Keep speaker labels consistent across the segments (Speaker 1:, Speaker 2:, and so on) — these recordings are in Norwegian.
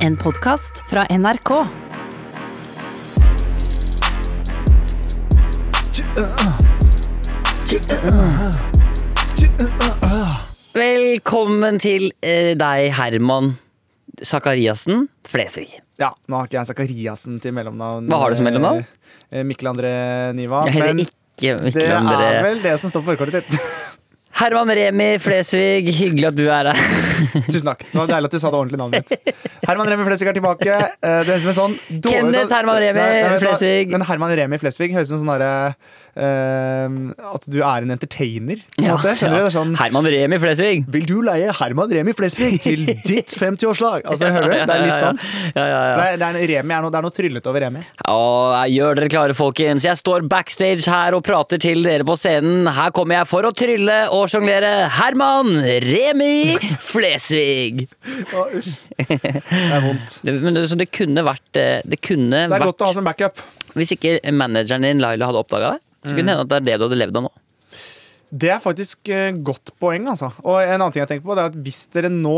Speaker 1: En podkast fra NRK.
Speaker 2: Velkommen til eh, deg, Herman Sakariassen Flesvig.
Speaker 3: Ja, nå har ikke jeg Zakariassen til mellomnavn.
Speaker 2: Hva har du som mellomnavn?
Speaker 3: Eh, Mikkel André Niva.
Speaker 2: Jeg heter
Speaker 3: Men
Speaker 2: ikke
Speaker 3: det
Speaker 2: Mikkel
Speaker 3: er
Speaker 2: André.
Speaker 3: vel det som står på førerkortet ditt.
Speaker 2: Herman Remi Flesvig, hyggelig at du er her.
Speaker 3: Tusen takk. Det var deilig at du sa det ordentlige navnet mitt. Herman Remi Flesvig er tilbake. Eh, Det høres ut som en sånn dårlig
Speaker 2: Kenneth Herman Remi
Speaker 3: Nei, nei, vet du hva?
Speaker 2: Flesvig.
Speaker 3: Men Herman Remi Flesvig høres ut som sånn derre eh, At du er en entertainer. På en
Speaker 2: Ja,
Speaker 3: måte. Skjønner du?
Speaker 2: ja.
Speaker 3: Det er sånn
Speaker 2: Herman Remi Flesvig.
Speaker 3: Vil du leie Herman Remi Flesvig til ditt 50-årslag? Altså, hører du? Det er litt sånn.
Speaker 2: Ja, ja, ja.
Speaker 3: Det er, det er, en- Remi er noe, det er noe tryllete over Remi.
Speaker 2: Og jeg gjør dere klare, folkens. Jeg står backstage her og prater til dere på scenen. Her kommer jeg for å trylle og sjonglere Herman Remi Flesvig.
Speaker 3: Å, usj. Det er vondt.
Speaker 2: Det, men det, så det kunne vært eh, Det kunne
Speaker 3: Det er
Speaker 2: vært
Speaker 3: godt å ha som backup.
Speaker 2: Hvis ikke manageren din, Laila, hadde oppdaga det, så kunne det hende at det er det du hadde levd av nå.
Speaker 3: Det er faktisk eh, godt poeng, altså. Og en annen ting jeg tenker på, det er at hvis dere nå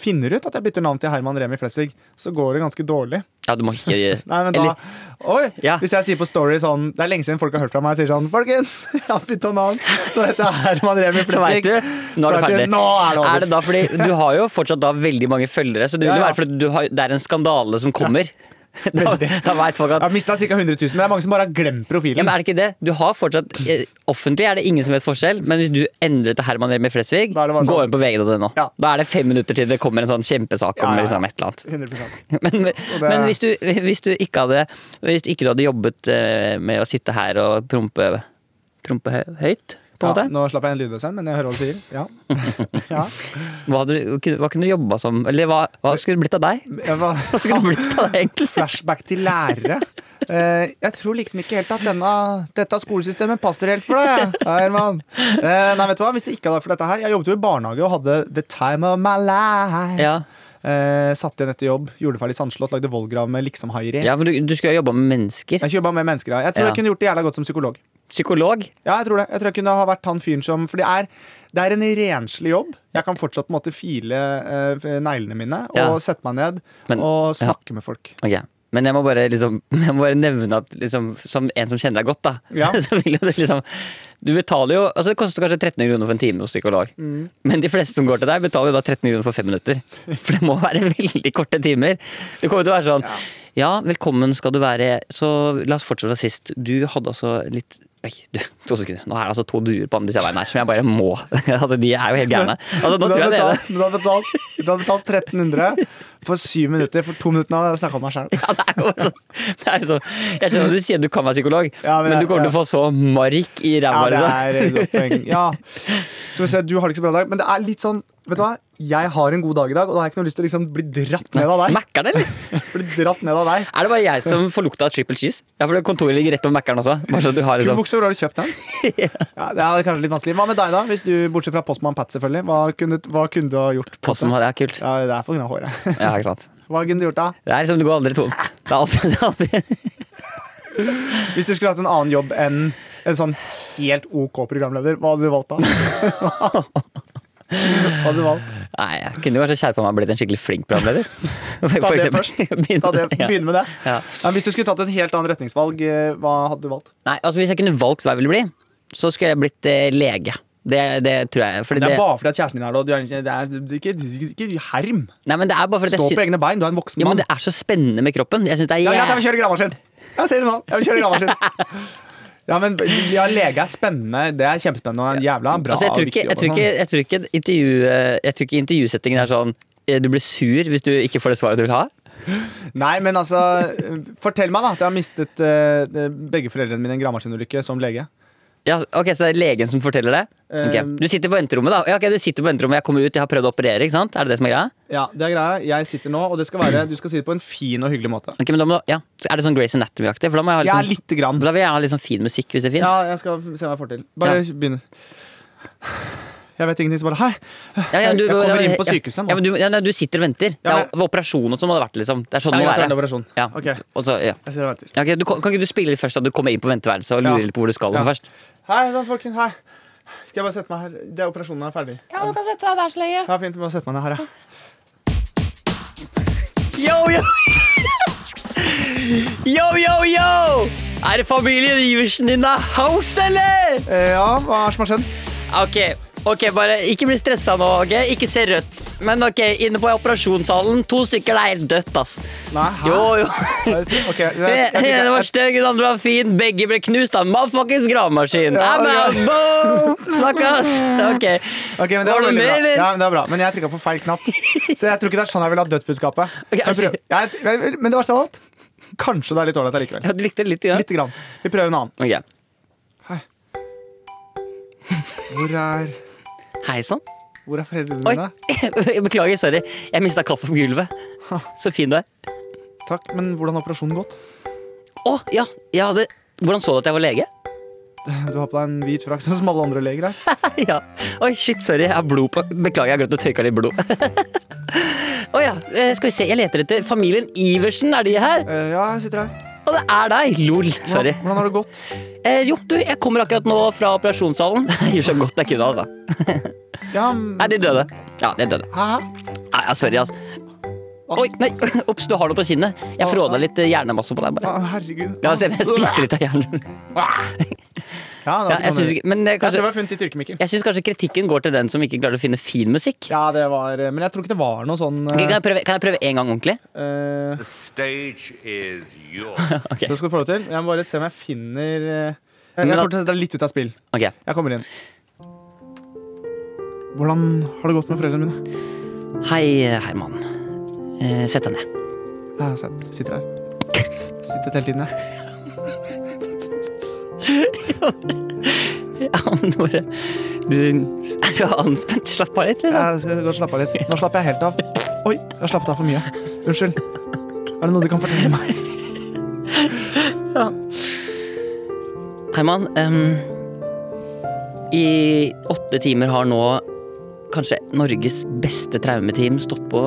Speaker 3: finner ut at jeg bytter navn til Herman Remi Flesvig, så går det ganske dårlig.
Speaker 2: Ja, du må ikke
Speaker 3: Nei, men da,
Speaker 2: Eller-
Speaker 3: oi,
Speaker 2: Ja.
Speaker 3: Hvis jeg sier på Story sånn Det er lenge siden folk har hørt fra meg og sier sånn Folkens, jeg har bytta navn. Så dette er Herman Remi
Speaker 2: Så veit
Speaker 3: Flesvig.
Speaker 2: du, nå er
Speaker 3: Så
Speaker 2: det
Speaker 3: vet
Speaker 2: ferdig.
Speaker 3: du, Nå er det over.
Speaker 2: Er det da fordi Du har jo fortsatt da veldig mange følgere, så det vil
Speaker 3: Ja,
Speaker 2: jo
Speaker 3: ja.
Speaker 2: være fordi du har, det er en skandale som kommer. Da,
Speaker 3: Veldig.
Speaker 2: da veit folk
Speaker 3: Jeg
Speaker 2: at
Speaker 3: har mista ca. 100 000, men det er mange som bare har glemt
Speaker 2: ja,
Speaker 3: profilen.
Speaker 2: men er det ikke det? Du har fortsatt eh, Offentlig er det ingen som vet forskjell, men hvis du endrer til Herman Remi Flesvig,
Speaker 3: Da er det bare
Speaker 2: gå
Speaker 3: sånn.
Speaker 2: inn på vg.no.
Speaker 3: Ja.
Speaker 2: Da er det fem minutter til det kommer en sånn kjempesak om
Speaker 3: Ja, ja, ja.
Speaker 2: Liksom, et eller annet.
Speaker 3: 100%
Speaker 2: Men,
Speaker 3: det-
Speaker 2: men hvis, du, hvis du ikke hadde Hvis ikke du hadde jobbet eh, med å sitte her og prompe, prompe hø- høyt, på en
Speaker 3: ja,
Speaker 2: måte
Speaker 3: Nå slapp jeg en lydløs en, men jeg hører hva du sier. Ja. ja.
Speaker 2: hva, hadde du, hva kunne du jobba som? Eller hva, hva skulle det blitt av deg?
Speaker 3: Jeg var-
Speaker 2: Hva skulle det blitt av deg, egentlig?
Speaker 3: flashback til lærere. Eh, jeg tror liksom ikke helt at denne, dette skolesystemet passer helt for deg. ja, Herman. Eh, nei, vet du hva? Hvis det ikke hadde vært for dette her Jeg jobbet jo i barnehage og hadde the time of my life.
Speaker 2: Ja,
Speaker 3: Eh, satt igjen etter jobb, gjorde ferdig Sandslott, lagde vollgrav med liksomhaier i.
Speaker 2: ja for du, du skulle ha jobba med mennesker.
Speaker 3: Jeg jobba med mennesker. ja. Jeg
Speaker 2: Ja.
Speaker 3: tror jeg kunne gjort det jævla godt som psykolog.
Speaker 2: Psykolog.
Speaker 3: Ja, jeg tror det. Jeg tror jeg kunne ha vært han fyren som For det er, det er en renslig jobb. Jeg kan fortsatt på en måte file eh, neglene mine og
Speaker 2: Ja.
Speaker 3: sette meg ned
Speaker 2: Men-
Speaker 3: og snakke med folk.
Speaker 2: Ok, Men jeg må bare, liksom, jeg må bare nevne at liksom, som en som kjenner deg godt, da
Speaker 3: Ja.
Speaker 2: så vil jo det liksom Du betaler jo altså Det koster kanskje 1300 kroner for en time hos psykolog. Men de fleste som går til deg, betaler jo da 1300 kroner for fem minutter. For det må være veldig korte timer. Det kommer til å være sånn Ja, velkommen skal du være. Så la oss fortsette fra sist. Du hadde altså litt Oi, du, to sekunder. Nå er det altså to duer på andre siden av veien her som jeg bare må Altså, de er jo helt gærne. Altså, nå
Speaker 3: Du
Speaker 2: tror
Speaker 3: har
Speaker 2: jeg det er det.
Speaker 3: betalt, du har betalt, du har betalt 1300 for syv minutter. For to minutter nå har jeg snakka om meg sjæl.
Speaker 2: Ja, det er jo det er sånn Jeg skjønner at du sier at du kan være psykolog,
Speaker 3: Ja,
Speaker 2: men,
Speaker 3: men det-
Speaker 2: du kommer til å få så mark i
Speaker 3: Ja,
Speaker 2: ræva.
Speaker 3: det sånn?
Speaker 2: liksom.
Speaker 3: er et godt poeng. Ja. Skal vi se, du har det ikke så bra i dag, men det er litt sånn Vet du hva? Jeg har en god dag i dag, og da har jeg ikke noe lyst til å liksom bli dratt ned av deg.
Speaker 2: Mækkern, eller?
Speaker 3: Bli dratt ned av deg.
Speaker 2: Er det bare jeg som får lukta av triple cheese? Ja, for det kontoret ligger rett over Mækkern også. Bare så du har
Speaker 3: Kul
Speaker 2: liksom
Speaker 3: bukse, hvor har du kjøpt den? Ja, det er kanskje litt vanskelig. Hva med deg, da? Hvis du, Bortsett fra Postman Pat, selvfølgelig. Hva kunne, hva kunne du ha gjort?
Speaker 2: på som Ja, kult.
Speaker 3: Ja, det er for grunn av håret.
Speaker 2: Ja, ikke sant.
Speaker 3: Hva kunne du gjort da?
Speaker 2: Det er liksom, det går aldri tomt. Det er alltid, det er alltid.
Speaker 3: Hvis du skulle hatt en annen jobb enn en sånn helt OK programleder, hva hadde du valgt da? Hva hadde du valgt?
Speaker 2: Nei, jeg kunne jo kanskje skjerpa meg og blitt en skikkelig flink programleder. For,
Speaker 3: Ta det
Speaker 2: eksempel.
Speaker 3: Ta det,
Speaker 2: Begynne-
Speaker 3: begynne med det.
Speaker 2: Ja. Ja.
Speaker 3: Ja, hvis du skulle tatt et helt annet retningsvalg, eh, hva hadde du valgt?
Speaker 2: Nei, altså Hvis jeg kunne valgt hva jeg ville bli, så skulle jeg blitt eh, lege. Det, det tror jeg. Fordi
Speaker 3: Det
Speaker 2: det,
Speaker 3: er bare fordi at kjæresten din er det, og du er ikke, det er du er ikke, du er ikke herm.
Speaker 2: nei, men det er bare fordi jeg
Speaker 3: Stå på
Speaker 2: syns-
Speaker 3: egne bein, du er en voksen
Speaker 2: ja, men
Speaker 3: mann.
Speaker 2: det er så spennende med kroppen. Jeg synes det er
Speaker 3: Ja,
Speaker 2: jævlig
Speaker 3: greit, jeg vil kjøre gravemaskin. Jeg ser det nå. Jeg vil kjøre gravemaskin. Ja, men ja, lege er spennende. Det er kjempespennende og en jævla bra
Speaker 2: altså, jeg, tror ikke,
Speaker 3: viktig
Speaker 2: jeg, tror
Speaker 3: jobb og
Speaker 2: ikke,
Speaker 3: sånn.
Speaker 2: jeg, tror ikke et intervju, eh, jeg tror ikke intervjusettingen er sånn eh, du blir sur hvis du ikke får det svaret du vil ha.
Speaker 3: Nei, men altså Fortell meg da at jeg har mistet eh, begge foreldrene mine i en gravemaskinulykke som lege.
Speaker 2: Ja, ok, Så det er legen som forteller det? Ok.
Speaker 3: Um,
Speaker 2: Du sitter på venterommet, da. Ja, ok, du sitter på venterommet, Jeg kommer ut, jeg har prøvd å operere. ikke sant? Er det det som er greia?
Speaker 3: Ja, det er greia. Jeg sitter nå, og det skal være, du skal si det på en fin og hyggelig måte.
Speaker 2: Ok, men da må, du- ja. Så Er det sånn Grace Anatomy-aktig? For da må jeg ha litt
Speaker 3: Jeg er
Speaker 2: sånn,
Speaker 3: lite grann.
Speaker 2: da vil jeg gjerne ha litt sånn fin musikk, hvis det fins.
Speaker 3: Ja,
Speaker 2: Ja.
Speaker 3: jeg skal se hva jeg får til. Bare begynn. Jeg vet ingenting, så bare Hei!
Speaker 2: Ja,
Speaker 3: jeg kommer inn på
Speaker 2: ja.
Speaker 3: sykehuset nå.
Speaker 2: Ja, men du, ja, nei, du sitter og venter. det
Speaker 3: Ja,
Speaker 2: er jo- operasjon og sånn må det vært, liksom. Det er sånn
Speaker 3: Jeg
Speaker 2: det må
Speaker 3: venter en
Speaker 2: være.
Speaker 3: operasjon.
Speaker 2: Ja.
Speaker 3: Ok,
Speaker 2: Og så, ja.
Speaker 3: jeg ser og venter.
Speaker 2: Ja, ok, du, kan kan ikke du spille litt først, da? Du kommer inn på venteværelset og lurer
Speaker 3: Ja.
Speaker 2: litt på hvor du skal
Speaker 3: Ja.
Speaker 2: først.
Speaker 3: Hei da, folkens. Hei. Skal jeg bare sette meg her? Det er operasjonen er ferdig.
Speaker 4: Ja, du kan sette deg der så lenge.
Speaker 3: Ja, fint. Bare sett meg ned her, ja.
Speaker 2: yo! Yo, yo, yo! Er det familien Iversen din av house, eller?
Speaker 3: Eh, ja, hva er det som har skjedd?
Speaker 2: Ok, ok, bare ikke bli stressa nå, ok? Ikke se rødt. Men ok, inne på operasjonssalen, to stykker, det er helt dødt, ass.
Speaker 3: Nei, hæ?
Speaker 2: Jo, jo.
Speaker 3: Ok, jeg, jeg,
Speaker 2: Den
Speaker 3: jeg,
Speaker 2: ene var stygg, den andre var fin, begge ble knust av motherfuckings gravemaskin.
Speaker 3: Ja,
Speaker 2: I'm out,
Speaker 3: ok.
Speaker 2: boom! Snakkes! Ok.
Speaker 3: Ok,
Speaker 2: Var
Speaker 3: men det
Speaker 2: det
Speaker 3: var veldig
Speaker 2: mer,
Speaker 3: bra.
Speaker 2: eller?
Speaker 3: Ja, men det var bra. Men jeg trykka på feil knapp. Så jeg tror ikke det er sånn jeg ville ha dødsbudskapet.
Speaker 2: Ok,
Speaker 3: Men
Speaker 2: altså-
Speaker 3: prøv- jeg- jeg- Men det verste av alt, kanskje det er litt ålreit allikevel.
Speaker 2: Ja, du likte det litt i dag?
Speaker 3: Lite grann. Vi prøver en annen.
Speaker 2: Ok.
Speaker 3: Hei. Hvor er,
Speaker 2: Hei sann.
Speaker 3: hvor er foreldrene
Speaker 2: Oi.
Speaker 3: dine?
Speaker 2: Beklager, sorry. Jeg mista kaffen på gulvet. Så fin du er.
Speaker 3: Takk, men hvordan har operasjonen gått?
Speaker 2: Å, ja. Jeg hadde Hvordan så du at jeg var lege?
Speaker 3: Du har på deg en hvit frakk sånn som alle andre leger her.
Speaker 2: ja. Oi, shit, sorry. Jeg har blod på Beklager, jeg har glemt å tørke av litt blod. Å ja. eh, Skal vi se. Jeg leter etter familien Iversen. Er de her?
Speaker 3: Eh, ja, jeg sitter her.
Speaker 2: Og det er deg! Lol.
Speaker 3: Hvordan,
Speaker 2: Sorry.
Speaker 3: Hvordan har det gått?
Speaker 2: Eh, jo, du, jeg kommer akkurat nå fra operasjonssalen. Jeg gjør så godt jeg kunne, altså.
Speaker 3: Ja, m-
Speaker 2: Er de døde? Ja, de er døde.
Speaker 3: Hæ?
Speaker 2: Nei, ja, sorry, altså. Oi, nei, ops, du har noe på kinnet. Jeg fråda litt eh, hjernemasse på deg, bare.
Speaker 3: Å, herregud.
Speaker 2: Ja, se, jeg spiste litt av hjernen.
Speaker 3: Ja, det
Speaker 2: Ja,
Speaker 3: var
Speaker 2: jeg
Speaker 3: ikke
Speaker 2: syns
Speaker 3: noe-
Speaker 2: ikke Men eh,
Speaker 3: Jeg tror
Speaker 2: kanskje
Speaker 3: vi har funnet ditt yrkemikkel.
Speaker 2: Jeg synes kanskje kritikken går til den som ikke klarer å finne fin musikk.
Speaker 3: Ja, det var eh, Men jeg tror ikke det var noe sånn
Speaker 2: Ok, kan,
Speaker 3: eh,
Speaker 2: jeg prøve, kan jeg prøve en gang ordentlig?
Speaker 3: eh,
Speaker 4: The stage is yours.
Speaker 3: Det skal du få lov til. Jeg må bare se om jeg finner eh, Jeg
Speaker 2: Men
Speaker 3: jeg
Speaker 2: da-
Speaker 3: kommer til å sette deg litt ut av spill.
Speaker 2: Ok,
Speaker 3: Jeg kommer inn. Hvordan har det gått med foreldrene mine?
Speaker 2: Hei, Herman. Eh, sett deg ned.
Speaker 3: Jeg sitter- sitter her. Sittet hele tiden, jeg.
Speaker 2: Ja, Nore. Du er så anspent. Slapp av litt, liksom.
Speaker 3: Jeg skal gå og slappe av litt. Nå slapper jeg helt av. Oi, jeg har slappet av for mye. Unnskyld. Er det noe du kan fortelle meg?
Speaker 2: Herman, em, i åtte timer har nå kanskje Norges beste traumeteam stått på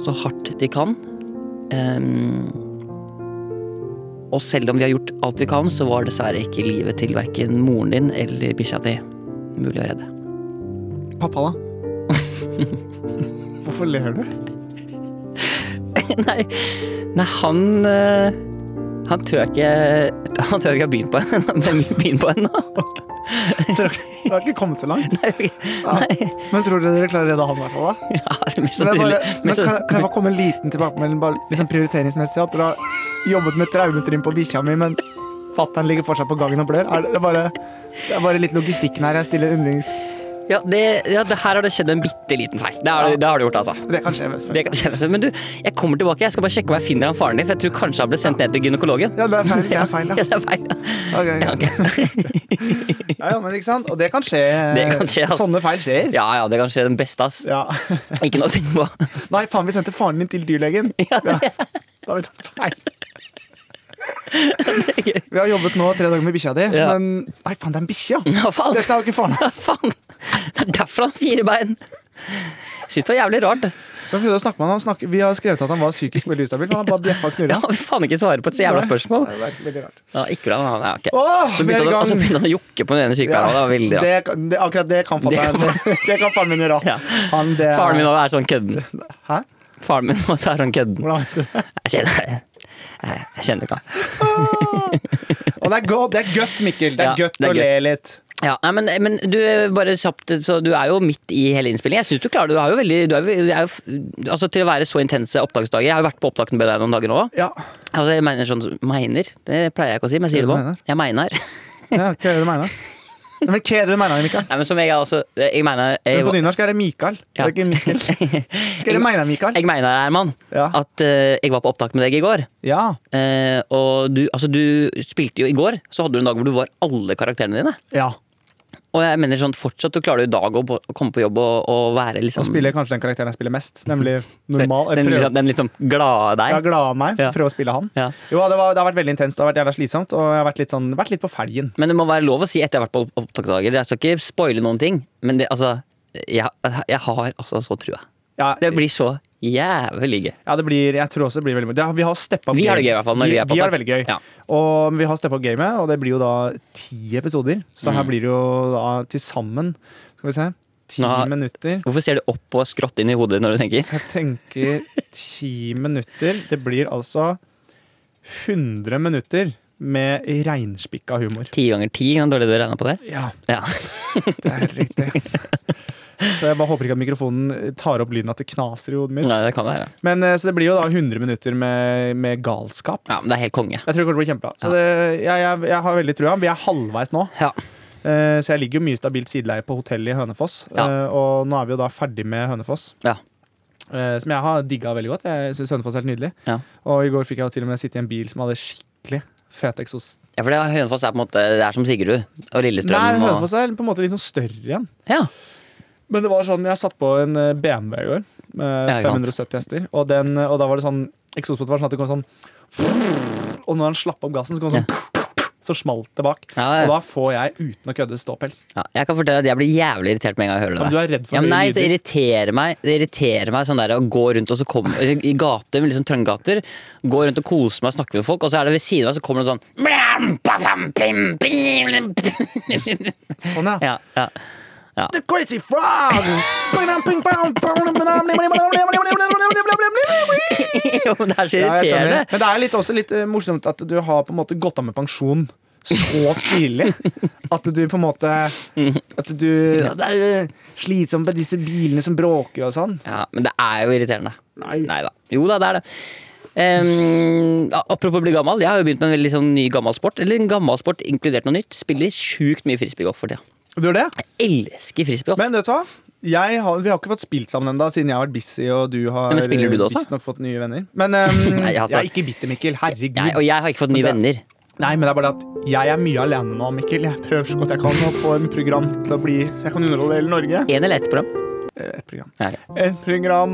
Speaker 2: så hardt de kan. Em, og selv om vi har gjort alt vi kan, så var dessverre ikke livet til verken moren din eller bikkja di mulig å redde.
Speaker 3: Pappa, da? Hvorfor ler du?
Speaker 2: Nei, nei han eh, Han tør ikke Han tør ikke ha byen på ennå.
Speaker 3: Dere har ikke kommet så langt. Ja.
Speaker 2: Nei.
Speaker 3: Men tror dere dere klarer å redde han i hvert fall? da?
Speaker 2: Ja, mest
Speaker 3: Men, jeg
Speaker 2: sannsynlig.
Speaker 3: bare, men
Speaker 2: mest
Speaker 3: kan,
Speaker 2: sannsynlig-
Speaker 3: kan jeg bare komme en liten tilbakemelding bare liksom prioriteringsmessig? At dere har jobbet med traumetrim på bikkja mi, men fatter'n ligger fortsatt på gangen og blør? Er det, det, er bare, det er bare litt logistikken her. Jeg stiller undrings...
Speaker 2: Ja, det, ja det, her har det skjedd en bitte liten feil. Det har, du- det har du gjort, altså.
Speaker 3: Det kan skje. hvem som
Speaker 2: Det
Speaker 3: helst.
Speaker 2: kan skje. Men du, jeg kommer tilbake. Jeg skal bare sjekke om jeg finner han faren din. For jeg tror kanskje han ble sendt ned til gynekologen.
Speaker 3: Ja, det er feil. Det er feil,
Speaker 2: Ja,
Speaker 3: ja.
Speaker 2: det er feil.
Speaker 3: Ok, ja.
Speaker 2: Ja, ok.
Speaker 3: ja, ja, men ikke sant? Og det kan skje. eh,
Speaker 2: Det kan skje, altså. ass.
Speaker 3: Sånne feil skjer.
Speaker 2: ja, ja, det kan skje den beste, ass.
Speaker 3: Ja.
Speaker 2: Ikke noe å tenke på.
Speaker 3: Nei, faen, vi sendte faren din til dyrlegen. Ja. Da har vi tatt feil. Vi har jobbet nå tre dager med bikkja di,
Speaker 2: Ja.
Speaker 3: men Nei, faen, det er en bikkje! ja.
Speaker 2: Ja, faen.
Speaker 3: Dette er jo ikke faren.
Speaker 2: Ja, faen. Det er derfor han har fire bein. Syns det var jævlig rart.
Speaker 3: Da prøvde jeg å snakke med han. han snakker, vi har skrevet at han var psykisk veldig ustabil. for Han har bare bjeffa og
Speaker 2: Ja,
Speaker 3: knurra.
Speaker 2: han vil faen ikke svare på et så jævla spørsmål.
Speaker 3: Det er veldig rart.
Speaker 2: Ja, ikke bra, han, ja, ok.
Speaker 3: Åh,
Speaker 2: Så begynte
Speaker 3: vi er i
Speaker 2: han,
Speaker 3: gang.
Speaker 2: og så begynte han å jokke på den ene sykepleieren. og Det var veldig rart.
Speaker 3: det, kan- det, akkurat det kan
Speaker 2: Det kan
Speaker 3: faren min Det kan faren min gjøre.
Speaker 2: Ja.
Speaker 3: Han, det,
Speaker 2: Faren min også er sånn kødden.
Speaker 3: Hæ?
Speaker 2: Faren min også er sånn kødden.
Speaker 3: Hvordan vet du det?
Speaker 2: Jeg kjenner, jeg, jeg kjenner ikke han.
Speaker 3: Og det er godt, det er godt Mikkel. Det er
Speaker 2: Ja,
Speaker 3: godt
Speaker 2: det er
Speaker 3: å le litt.
Speaker 2: Ja, nei, men, men du bare kjapt Så du er jo midt i hele innspillingen. Jeg syns du klarer det. Du har jo veldig du er, jo- du er jo, f- altså, Til å være så intense opptaksdager Jeg har jo vært på opptakene med deg noen dager nå.
Speaker 3: Ja,
Speaker 2: Altså, jeg mener sånn Mener? Det pleier jeg ikke å si, men jeg sier det nå. Jeg mener.
Speaker 3: ja Hva er det du mener? Nei, Men hva er det du mener, Mikael?
Speaker 2: Nei, men som jeg altså Jeg mener
Speaker 3: Men
Speaker 2: Jeg,
Speaker 3: på nynorsk er det Mikael.
Speaker 2: Ja.
Speaker 3: Det er ikke Mikkel. Hva er det du mener, Mikael?
Speaker 2: jeg mener, Herman,
Speaker 3: Ja.
Speaker 2: at eh, jeg var på opptak med deg i går.
Speaker 3: Ja.
Speaker 2: Eh, og du, altså, du spilte jo i går, så hadde du en dag hvor du var alle karakterene dine.
Speaker 3: ja.
Speaker 2: Og jeg mener sånn fortsatt du klarer jo i dag å på- komme på jobb og, og være liksom
Speaker 3: Og spiller kanskje den karakteren jeg spiller mest, nemlig
Speaker 2: den,
Speaker 3: normal.
Speaker 2: den,
Speaker 3: prøv-
Speaker 2: liksom, den liksom glade deg.
Speaker 3: Jeg er glad av meg.
Speaker 2: Ja.
Speaker 3: Prøve å spille han.
Speaker 2: Ja.
Speaker 3: Jo, det, var, det har vært veldig intenst og det har vært jævla slitsomt. Og jeg har vært litt, sånn, vært litt på felgen.
Speaker 2: Men det må være lov å si etter jeg har vært på opptaksdager. Jeg skal ikke spoile noen ting, men det, altså, jeg, jeg har altså så trua.
Speaker 3: Ja,
Speaker 2: Det blir så jævlig gøy.
Speaker 3: ja, det blir, jeg tror også det blir veldig mye. Det- Vi har steppa opp
Speaker 2: Vi har det gøy i hvert fall når vi er på
Speaker 3: vi har det
Speaker 2: opptak.
Speaker 3: veldig gøy.
Speaker 2: Ja.
Speaker 3: Og vi har steppa opp gamet, og det blir jo da ti episoder. Så her blir det jo da til sammen Skal vi se Ti
Speaker 2: Mm. Nå-
Speaker 3: minutter.
Speaker 2: Hvorfor ser du opp og skrått inn i hodet når du tenker?
Speaker 3: Jeg tenker ti minutter. Det blir altså 100 minutter med reinspikka humor.
Speaker 2: Ti ganger ti, hvor dårlig du regna på det?
Speaker 3: Ja,
Speaker 2: Ja.
Speaker 3: det er helt riktig. Så jeg bare håper ikke at mikrofonen tar opp lyden at det knaser i hodet mitt.
Speaker 2: Nei, det kan være.
Speaker 3: Men eh, Så det blir jo da 100 minutter med, med galskap.
Speaker 2: Ja, men det er helt konge.
Speaker 3: Jeg tror det kommer til å bli kjempebra. Så det, jeg, jeg, jeg har veldig trua. Vi er halvveis nå.
Speaker 2: Ja.
Speaker 3: Eh, Så jeg ligger jo mye stabilt sideleie på hotellet i Hønefoss.
Speaker 2: Ja.
Speaker 3: Eh, Og nå er vi jo da ferdig med Hønefoss,
Speaker 2: Ja.
Speaker 3: eh, som jeg har digga veldig godt. Jeg syns Hønefoss er helt nydelig.
Speaker 2: Ja.
Speaker 3: Og i går fikk jeg jo til og med sitte i en bil som hadde skikkelig fet eksos.
Speaker 2: Ja, for det er- Hønefoss er på en måte Det er som Sigrud og
Speaker 3: Nei,
Speaker 2: Lillestrøm. og...
Speaker 3: Hønefoss er på en måte litt sånn større igjen.
Speaker 2: Ja.
Speaker 3: Men det var sånn, jeg satt på en eh, BMW i går med
Speaker 2: Ja, ikke sant.
Speaker 3: 570 hester, og, den, og da var det sånn Eksospotet var sånn at det kom sånn Og når han slapp opp gassen, så kom det sånn Så smalt det bak.
Speaker 2: Ja,
Speaker 3: Og
Speaker 2: ja.
Speaker 3: da får jeg uten å kødde ståpels.
Speaker 2: ja. Jeg kan fortelle at jeg blir jævlig irritert med en gang jeg hører
Speaker 3: Ja,
Speaker 2: det.
Speaker 3: men du er redd for
Speaker 2: ja, men
Speaker 3: høye
Speaker 2: nei, det
Speaker 3: lyder.
Speaker 2: irriterer meg Det irriterer meg sånn der å gå rundt og så komme i gater, med liksom trange gater. Gå rundt og kose meg og snakke med folk, og så er det ved siden av meg så kommer det sånn blam, bam, pim, pim, pim.
Speaker 3: Sånn, ja.
Speaker 2: Ja, ja.
Speaker 3: The crazy frog! ja,
Speaker 2: Jo, men det er så
Speaker 3: jeg
Speaker 2: irriterende.
Speaker 3: skjønner. Men det er litt, også litt eh, morsomt at du har på en måte gått av med pensjon så tidlig. At du på en måte At du ja, Det er eh, slitsomt med disse bilene som bråker og sånn.
Speaker 2: Ja, men det er jo irriterende.
Speaker 3: Nei.
Speaker 2: da. Jo da, det er det. Ehm, a- apropos å bli gammel, jeg har jo begynt med en veldig sånn ny gammel sport. Eller en gammel sport inkludert noe nytt. Spiller sjukt mye frisbeegolf for tida.
Speaker 3: Du gjør det?
Speaker 2: Elsker frisbeegolf.
Speaker 3: Men vet du hva? Jeg har, vi har ikke fått spilt sammen ennå, siden jeg har vært busy og du har eh,
Speaker 2: Men spiller du det også?
Speaker 3: visstnok fått nye venner. Men ehm,
Speaker 2: Nei, altså-
Speaker 3: jeg er ikke bitter, Mikkel. Herregud.
Speaker 2: Nei, og jeg har ikke fått nye
Speaker 3: Men
Speaker 2: venner.
Speaker 3: Nei, men det er bare at jeg er mye alene nå, Mikkel. Jeg prøver så godt jeg kan å få en program til å bli Så jeg kan underholde hele Norge.
Speaker 2: Én eller ett program.
Speaker 3: Eh, Et program.
Speaker 2: Ja, ok.
Speaker 3: Et program.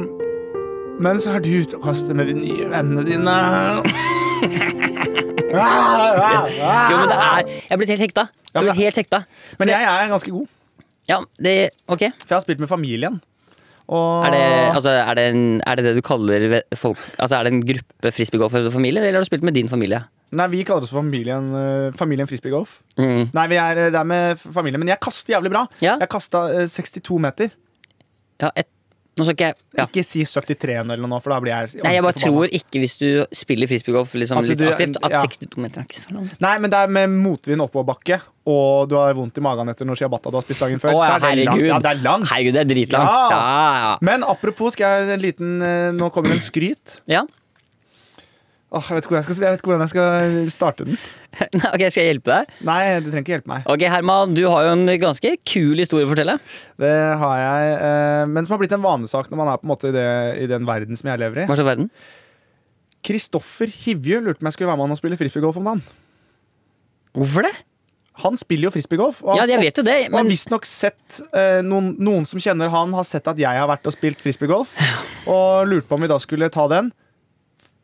Speaker 3: Men så er du ute og kaster med de nye vennene dine. Ah, ah, ah.
Speaker 2: Jo, men det er Jeg er blitt helt hekta. Jeg
Speaker 3: Ja,
Speaker 2: er
Speaker 3: men-
Speaker 2: blitt helt hekta.
Speaker 3: Men jeg er ganske god,
Speaker 2: Ja, det Ok.
Speaker 3: for jeg har spilt med familien. Og
Speaker 2: Er det, altså, er, det en, er det det du kaller ve- folk Altså, er det en gruppe frisbeegolferfamilie, eller har du spilt med din familie?
Speaker 3: Nei, vi kaller oss familien, eh, familien frisbeegolf.
Speaker 2: Mm.
Speaker 3: Nei, vi er eh, der med f- familien, men jeg kaster jævlig bra.
Speaker 2: Ja.
Speaker 3: Jeg kasta 62 meter.
Speaker 2: Ja, et, nå skal ikke jeg ja.
Speaker 3: Ikke si 73 eller noe, for da blir jeg
Speaker 2: Nei, jeg bare
Speaker 3: ordentlig forbanna.
Speaker 2: tror ikke, hvis du spiller frisbeegolf liksom,
Speaker 3: At
Speaker 2: litt
Speaker 3: du-
Speaker 2: aktivt, at
Speaker 3: ja.
Speaker 2: 62 meter er ikke så langt.
Speaker 3: Nei, men det er med motvind oppoverbakke, og du har vondt i magen etter noe ciabatta du har spist dagen
Speaker 2: Å,
Speaker 3: før.
Speaker 2: ja,
Speaker 3: så er det langt.
Speaker 2: herregud.
Speaker 3: Ja, det er langt.
Speaker 2: Herregud, det er dritlangt.
Speaker 3: Ja.
Speaker 2: Ja, ja.
Speaker 3: Men apropos, skal jeg en liten eh, Nå kommer en skryt.
Speaker 2: ja.
Speaker 3: Åh, jeg, vet ikke hvor jeg, skal, jeg vet ikke hvordan jeg skal starte den.
Speaker 2: Nei, Ok, Skal jeg hjelpe deg?
Speaker 3: Nei, du trenger ikke hjelpe meg.
Speaker 2: Ok, Herman, du har jo en ganske kul historie å fortelle.
Speaker 3: Det har jeg, eh, men som har blitt en vanesak når man er på en måte i, det, i den verden som jeg lever i.
Speaker 2: Hva slags verden?
Speaker 3: Kristoffer Hivju lurte på om jeg skulle være med han og spille frisbeegolf om dagen.
Speaker 2: Hvorfor det?
Speaker 3: Han spiller jo frisbeegolf. og
Speaker 2: Ja,
Speaker 3: har
Speaker 2: jeg
Speaker 3: fått-
Speaker 2: vet jo det,
Speaker 3: Og
Speaker 2: men
Speaker 3: visstnok sett eh, noen, noen som kjenner han, har sett at jeg har vært og spilt frisbeegolf. Og lurte på om vi da skulle ta den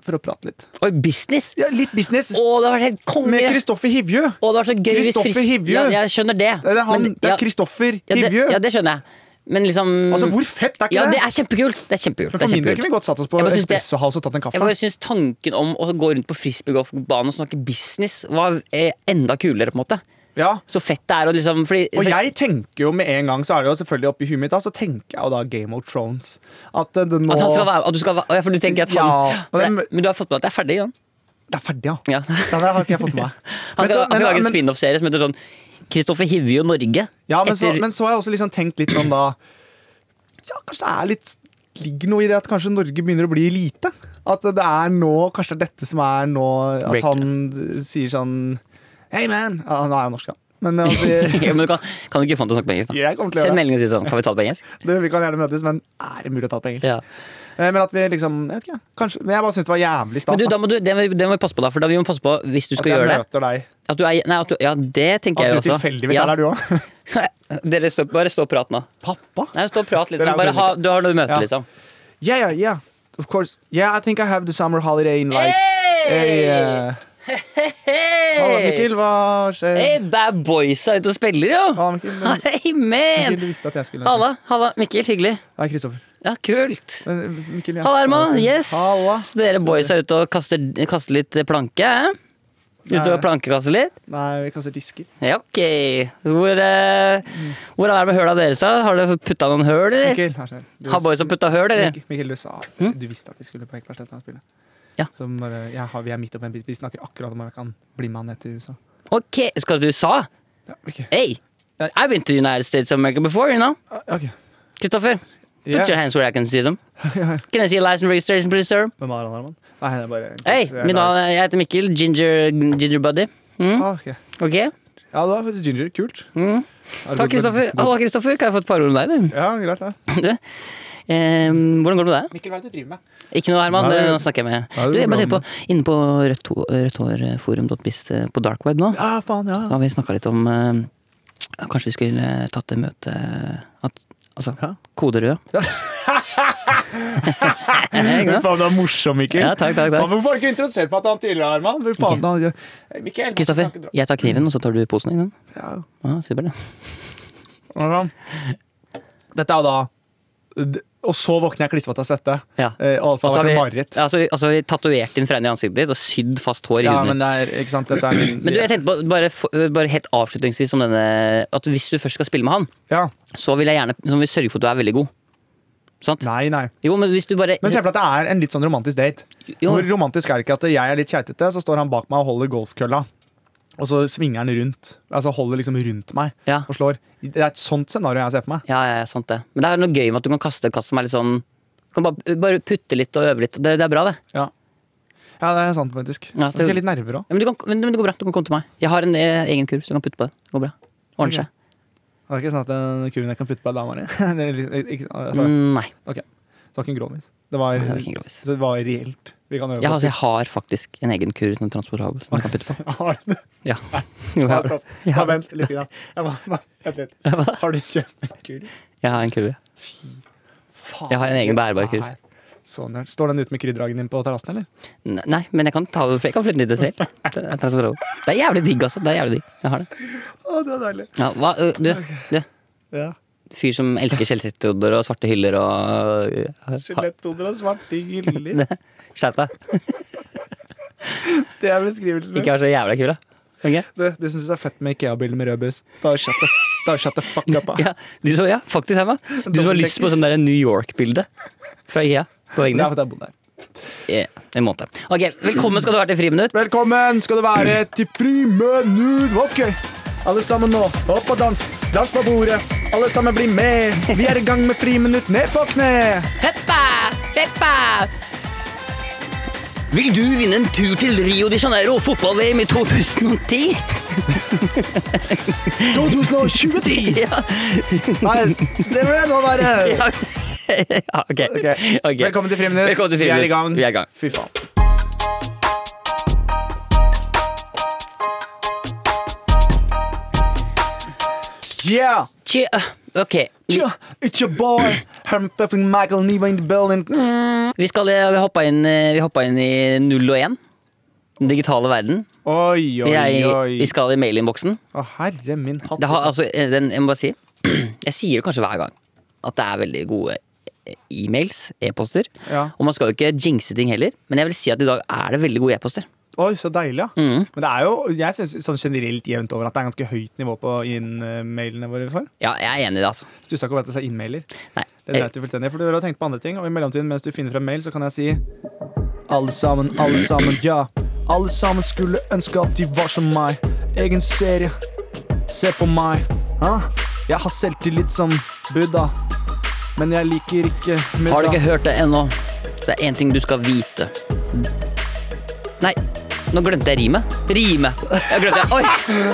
Speaker 3: for å prate litt.
Speaker 2: Oi, business!
Speaker 3: Ja, litt business
Speaker 2: Å, det har vært helt konge!
Speaker 3: med Kristoffer Hivju.
Speaker 2: Å, det var så gøy hvis
Speaker 3: Kristoffer
Speaker 2: fris-
Speaker 3: Hivju.
Speaker 2: Ja, jeg skjønner det.
Speaker 3: Det er han,
Speaker 2: Men-
Speaker 3: det
Speaker 2: ja,
Speaker 3: er Kristoffer
Speaker 2: ja, det-
Speaker 3: Hivju.
Speaker 2: Ja, det skjønner jeg. Men liksom
Speaker 3: Altså, hvor fett er ikke
Speaker 2: Ja, det
Speaker 3: det?
Speaker 2: er kjempekult. Det er kjempekult.
Speaker 3: Men For
Speaker 2: det er
Speaker 3: min del
Speaker 2: kjempekult.
Speaker 3: kunne vi godt satt oss på
Speaker 2: Jeg bare synes det-
Speaker 3: Espresso House og tatt en
Speaker 2: Jeg
Speaker 3: kaffe.
Speaker 2: bare synes Tanken om å gå rundt på frisbeegolfbanen og snakke business var eh, enda kulere. på en måte
Speaker 3: Ja.
Speaker 2: Så fett det er å liksom fordi,
Speaker 3: Og
Speaker 2: for-
Speaker 3: jeg tenker jo med en gang, så er det jo selvfølgelig oppi huet mitt, da, så tenker jeg jo da Game of Thrones. At eh, det nå
Speaker 2: At han skal være, at du skal være ja, For du tenker at han
Speaker 3: Ja,
Speaker 2: for
Speaker 3: men-
Speaker 2: jeg, Men du har fått med at det er ferdig? Ja.
Speaker 3: Det er ferdig, ja.
Speaker 2: Ja.
Speaker 3: Det der har ikke jeg fått med meg.
Speaker 2: Han
Speaker 3: Men
Speaker 2: skal,
Speaker 3: så-
Speaker 2: han skal
Speaker 3: men-
Speaker 2: lage en
Speaker 3: men-
Speaker 2: spin-off-serie som heter sånn Kristoffer Hivju og Norge.
Speaker 3: Ja, men, så,
Speaker 2: Etter-
Speaker 3: men så har jeg også liksom tenkt litt sånn da Ja, kanskje det er litt ligger noe i det at kanskje Norge begynner å bli elite? At det er nå, kanskje det er dette som er nå At
Speaker 2: Breakthrough.
Speaker 3: han sier sånn Hey man! Ja, nå er jeg jo norsk, da. Men eh, altså, han sier
Speaker 2: Ja, men du kan, kan du ikke få han til å snakke på engelsk?
Speaker 3: Jeg kommer
Speaker 2: da?
Speaker 3: til å gjøre
Speaker 2: Send
Speaker 3: det.
Speaker 2: melding og si sånn. Kan vi ta det på engelsk?
Speaker 3: Du, vi kan gjerne møtes, men er det mulig å ta det på engelsk?
Speaker 2: Ja.
Speaker 3: Eh, Men at vi liksom Jeg vet ikke, kanskje Men jeg bare syns det var jævlig
Speaker 2: Men
Speaker 3: stas.
Speaker 2: du,
Speaker 3: da,
Speaker 2: da må du, det, må, det må vi passe på, da. For da vi må passe på hvis du
Speaker 3: at
Speaker 2: skal
Speaker 3: jeg
Speaker 2: gjøre det.
Speaker 3: møter deg.
Speaker 2: At du er, nei, at du, ja, det tenker jeg
Speaker 3: At
Speaker 2: jo
Speaker 3: du
Speaker 2: også.
Speaker 3: tilfeldigvis
Speaker 2: ja.
Speaker 3: er der, du òg.
Speaker 2: Dere stå, bare stå og prat nå.
Speaker 3: Pappa?
Speaker 2: Nei, stå og prat litt.
Speaker 3: Dere
Speaker 2: Sånn.
Speaker 3: er
Speaker 2: Bare ha,
Speaker 3: veldig-
Speaker 2: du har noe møte,
Speaker 3: Ja.
Speaker 2: liksom.
Speaker 3: Yeah, yeah, yeah. Of course. Yeah, I think I have the summer holiday in like
Speaker 2: Hey!
Speaker 3: eh,
Speaker 2: Hey!
Speaker 3: Å, Mikkel, hva skjer?
Speaker 2: Hey, det er boysa ute og spiller, jo!
Speaker 3: Ja, Mikkel, men-
Speaker 2: Hei, man!
Speaker 3: Mikkel, du visste at jeg skulle
Speaker 2: Halla, halla, Mikkel. Hyggelig.
Speaker 3: Nei, Kristoffer.
Speaker 2: Ja, kult.
Speaker 3: Men, Mikkel, jeg
Speaker 2: Halla,
Speaker 3: sa
Speaker 2: Herman.
Speaker 3: det.
Speaker 2: Yes.
Speaker 3: Halla.
Speaker 2: Dere boysa ute og kaster, kaster litt planke? eh? Ute og plankekaste litt?
Speaker 3: Nei, vi kaster disker.
Speaker 2: Ja, ok. Hvor, eh, hvordan er det med høla deres, da? Har dere putta noen høl, eller?
Speaker 3: Mikkel, vær så snill. Du-
Speaker 2: Har boys putta høl, eller?
Speaker 3: Mikkel, Mikkel, du sa du visste at vi skulle på Ekebergsletta og spille.
Speaker 2: Mm? Ja.
Speaker 3: Som bare, jeg har, vi er midt oppe i en bit. Vi snakker akkurat om at jeg kan bli med han ned til USA.
Speaker 2: Ok, skal du sa?
Speaker 3: Ja, ok.
Speaker 2: Hey, I've been to the United States of America before, you know?
Speaker 3: Ah, Ok.
Speaker 2: Kristoffer, put
Speaker 3: Ja.
Speaker 2: your hands where I can see them. Can I see license registration, please, sir?
Speaker 3: Hvem er han her, mann? Nei, det er bare
Speaker 2: Hei,
Speaker 3: Jeg er
Speaker 2: mitt
Speaker 3: klar.
Speaker 2: navn jeg heter Mikkel. Ginger, ginger Buddy. Mm,
Speaker 3: Ah, ok.
Speaker 2: ok.
Speaker 3: Ja, det var faktisk Ginger. Kult.
Speaker 2: Mm.
Speaker 3: Er det
Speaker 2: Takk,
Speaker 3: godt-
Speaker 2: Kristoffer.
Speaker 3: godt-
Speaker 2: Hallo, Kristoffer. Kan jeg få et par ord med deg? eller?
Speaker 3: Ja, greit, det.
Speaker 2: Eh, hvordan går det med deg?
Speaker 3: Mikkel, hva er det du driver med?
Speaker 2: Ikke noe, Herman.
Speaker 3: Nei,
Speaker 2: det-
Speaker 3: det-
Speaker 2: Nå snakker jeg med
Speaker 3: Nei, det
Speaker 2: Du, jeg
Speaker 3: går
Speaker 2: bare
Speaker 3: bra
Speaker 2: tenker på Inne på eh, rødthårforum.biz på dark web nå,
Speaker 3: Ja, faen, ja.
Speaker 2: så har vi snakka litt om eh, Kanskje vi skulle eh, tatt det møte at, Altså,
Speaker 3: Ja.
Speaker 2: kode rød. Ikke sant?
Speaker 3: Faen, du er morsom, Mikkel.
Speaker 2: Ja, takk, takk,
Speaker 3: Faen,
Speaker 2: takk.
Speaker 3: hvorfor har du ikke introdusert meg til han tidligere, Herman? Fy faen, da- Hey, Mikkel,
Speaker 2: Kristoffer,
Speaker 3: kan ikke dra-
Speaker 2: jeg tar kniven, og så tar du posen. Ikke sant? Ah,
Speaker 3: Ja.
Speaker 2: Ja, super, det.
Speaker 3: Hvordan? Dette er jo da d- Og så våkner jeg klissvåt av svette.
Speaker 2: Ja.
Speaker 3: Eh, og
Speaker 2: Og
Speaker 3: det
Speaker 2: så
Speaker 3: har
Speaker 2: har
Speaker 3: vært
Speaker 2: vi,
Speaker 3: et mareritt.
Speaker 2: ja, altså, altså, vi tatovert inn fregn i ansiktet ditt og sydd fast hår i
Speaker 3: Ja,
Speaker 2: huden.
Speaker 3: men
Speaker 2: din.
Speaker 3: det er, ikke sant, dette er min
Speaker 2: Men du, jeg tenkte på, bare, for- bare helt avslutningsvis om denne At hvis du først skal spille med han,
Speaker 3: ja.
Speaker 2: så vil jeg gjerne så må vi sørge for at du er veldig god. Sant?
Speaker 3: Nei, nei.
Speaker 2: Jo, men hvis du bare
Speaker 3: Men se for deg at det er en litt sånn romantisk date.
Speaker 2: Jo.
Speaker 3: Hvor romantisk er det ikke at jeg er litt keitete, så står han bak meg og holder golfkølla. Og så svinger han rundt. Altså holder liksom rundt meg
Speaker 2: Ja.
Speaker 3: og slår. Det er et sånt scenario jeg ser for meg.
Speaker 2: Ja, ja, ja, sant det. Men det er noe gøy med at du kan kaste et kast som er litt sånn du kan bare, bare putte litt og øve litt. Det, det er bra, det.
Speaker 3: Ja, ja det er sant, faktisk.
Speaker 2: Ja,
Speaker 3: det...
Speaker 2: det-
Speaker 3: litt nerver òg.
Speaker 2: Ja, men, du kan, men, men det går bra. Du kan komme til meg. Jeg har en eh, egen kurv, så du kan putte på den. Det går bra.
Speaker 3: Ok.
Speaker 2: Ordner seg.
Speaker 3: Er det ikke sånn at den kuren jeg kan putte på ei dame i? Det er litt- ikke- altså,
Speaker 2: Mm, nei.
Speaker 3: Det var ikke en grovis. Det var,
Speaker 2: Nei, det var ikke en grovis.
Speaker 3: så det var reelt. Vi kan øve
Speaker 2: Ja,
Speaker 3: på
Speaker 2: altså, jeg har faktisk en egen kurv som er transportabel, som du kan putte på.
Speaker 3: Har du det?
Speaker 2: Ja. Jo, jeg,
Speaker 3: Ja,
Speaker 2: har,
Speaker 3: stopp.
Speaker 2: Jeg
Speaker 3: Ja,
Speaker 2: har-
Speaker 3: vent litt. Grann. Jeg må, må- vent litt. Har du kjøpt en kurv?
Speaker 2: jeg har en kurv. ja.
Speaker 3: Faen.
Speaker 2: Jeg har en egen bærbar kurv.
Speaker 3: Nei. Så nerd. Står den ute med krydderhagen din på terrassen, eller?
Speaker 2: Ne- Nei, men jeg kan, ta det, jeg kan flytte den dit selv. Det er transportabel. Det er jævlig digg, altså. Det er jævlig digg. Jeg har det.
Speaker 3: Å, det er deilig.
Speaker 2: Ja, hva, ø, du, du,
Speaker 3: Ja.
Speaker 2: fyr som elsker skjellsettodder og svarte hyller og ha-
Speaker 3: Skjeletthoder og svarte hyller.
Speaker 2: Skjerp deg.
Speaker 3: Det er beskrivelsen min.
Speaker 2: Ikke vær så jævla kul, da. Ok?
Speaker 3: Du, du syns det er fett med Ikea-bilder med rød buss. Da shut the, da shut the fuck up. da.
Speaker 2: Ja, du som, ja faktisk, Herman. Du som har lyst på sånn der New York-bilde fra IEA på
Speaker 3: Det er
Speaker 2: veggen
Speaker 3: fordi jeg har bodd der.
Speaker 2: din. Ja, en måned. Ok, velkommen skal du være til Friminutt.
Speaker 3: Velkommen skal du være til friminutt. Ok, alle sammen nå. Opp og dans. Dans på bordet. Alle sammen bli med. Vi er i gang med friminutt. Ned på kne.
Speaker 2: Peppa! Peppa! Vil du vinne en tur til Rio de Janeiro fotball-VM i 2010?
Speaker 3: 2020!
Speaker 2: Ja,
Speaker 3: Nei, det ble nå være.
Speaker 2: ja. ja ok.
Speaker 3: Ok.
Speaker 2: Ok.
Speaker 3: Velkommen til friminutt.
Speaker 2: Velkommen til
Speaker 3: Vi er i gang.
Speaker 2: Vi er i gang.
Speaker 3: Fy faen. Yeah!
Speaker 2: Tjø, øh, ok, vi,
Speaker 3: Yeah, It's your boy, Herman fucking Michael Neva in the building.
Speaker 2: vi skal eh, vi hoppa inn, eh, vi hoppa inn i null og én. Den digitale verden.
Speaker 3: Oi,
Speaker 2: Vi,
Speaker 3: oi,
Speaker 2: er, i-
Speaker 3: oi.
Speaker 2: vi skal i mailinnboksen.
Speaker 3: Å, herre min hatt.
Speaker 2: Det har, altså, eh, den, jeg må bare si Jeg sier det kanskje hver gang At det er veldig gode eh, e-mails, e-poster
Speaker 3: Ja.
Speaker 2: Og man skal jo ikke jinxe ting heller Men jeg vil si at i dag er det veldig gode e-poster
Speaker 3: Oi, så deilig, ja.
Speaker 2: Mm.
Speaker 3: Men det er jo, jeg syns sånn generelt jevnt over at det er ganske høyt nivå på innmailene våre. for.
Speaker 2: Ja, jeg er enig i det altså
Speaker 3: Stussa ikke over at det er innmailer.
Speaker 2: Nei,
Speaker 3: Det dreit du fullstendig, for du har tenkt på andre ting, og i mellomtiden mens du finner frem mail, så kan jeg si Alle sammen, alle sammen, ja. Alle sammen skulle ønske at de var som meg. Egen serie. Se på meg. Hæ? Jeg har selvtillit som Buddha, men jeg liker ikke middag.
Speaker 2: Har du ikke hørt det ennå Så er det en ting du skal vite Nei, nå glemte jeg rime Rime Jeg glemte det Oi,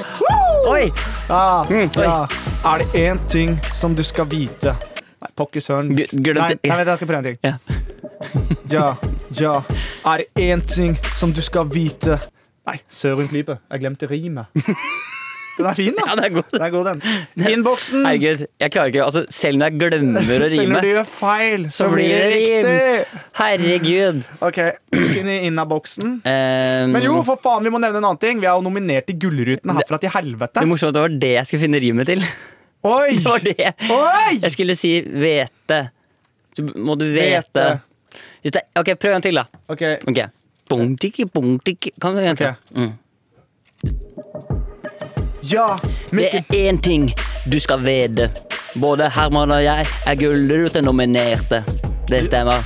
Speaker 2: oi Mm,
Speaker 3: Ja,
Speaker 2: oi.
Speaker 3: ja. Er det én ting som du skal vite? Nei, pokker søren.
Speaker 2: Gu-
Speaker 3: Nei,
Speaker 2: glemte-
Speaker 3: nei, vent, jeg skal prøve en ting.
Speaker 2: Ja.
Speaker 3: Ja, ja. Er det én ting som du skal vite? Nei, søren klype. Jeg glemte rimet. Den er fin,
Speaker 2: Ja, det
Speaker 3: da.
Speaker 2: er godt
Speaker 3: Den er god, den. Innboksen.
Speaker 2: Herregud, jeg klarer ikke Altså, selv når jeg glemmer å
Speaker 3: Selv
Speaker 2: rime
Speaker 3: når du gjør feil, så,
Speaker 2: Så blir
Speaker 3: blir det
Speaker 2: det rim.
Speaker 3: riktig.
Speaker 2: Herregud
Speaker 3: Ok, Husk inn i inna-boksen.
Speaker 2: Ehm,
Speaker 3: Men jo, for faen, vi må nevne en annen ting. Vi er jo nominert til Gullruten herfra til helvete.
Speaker 2: Det er morsomt at det var det jeg skulle finne rimet til.
Speaker 3: Oi!
Speaker 2: Det var det.
Speaker 3: Oi!
Speaker 2: Jeg skulle si vete. Så må du vete.
Speaker 3: Vete.
Speaker 2: Hvis det, ok, prøv en til, da.
Speaker 3: Ok,
Speaker 2: Ok. Bong, tikki, bong, tikki. Kan du en til?
Speaker 3: Ok.
Speaker 2: Mm.
Speaker 3: Ja!
Speaker 2: Det er én ting du skal vite. Både Herman og jeg er Gullruten-nominerte. Det stemmer.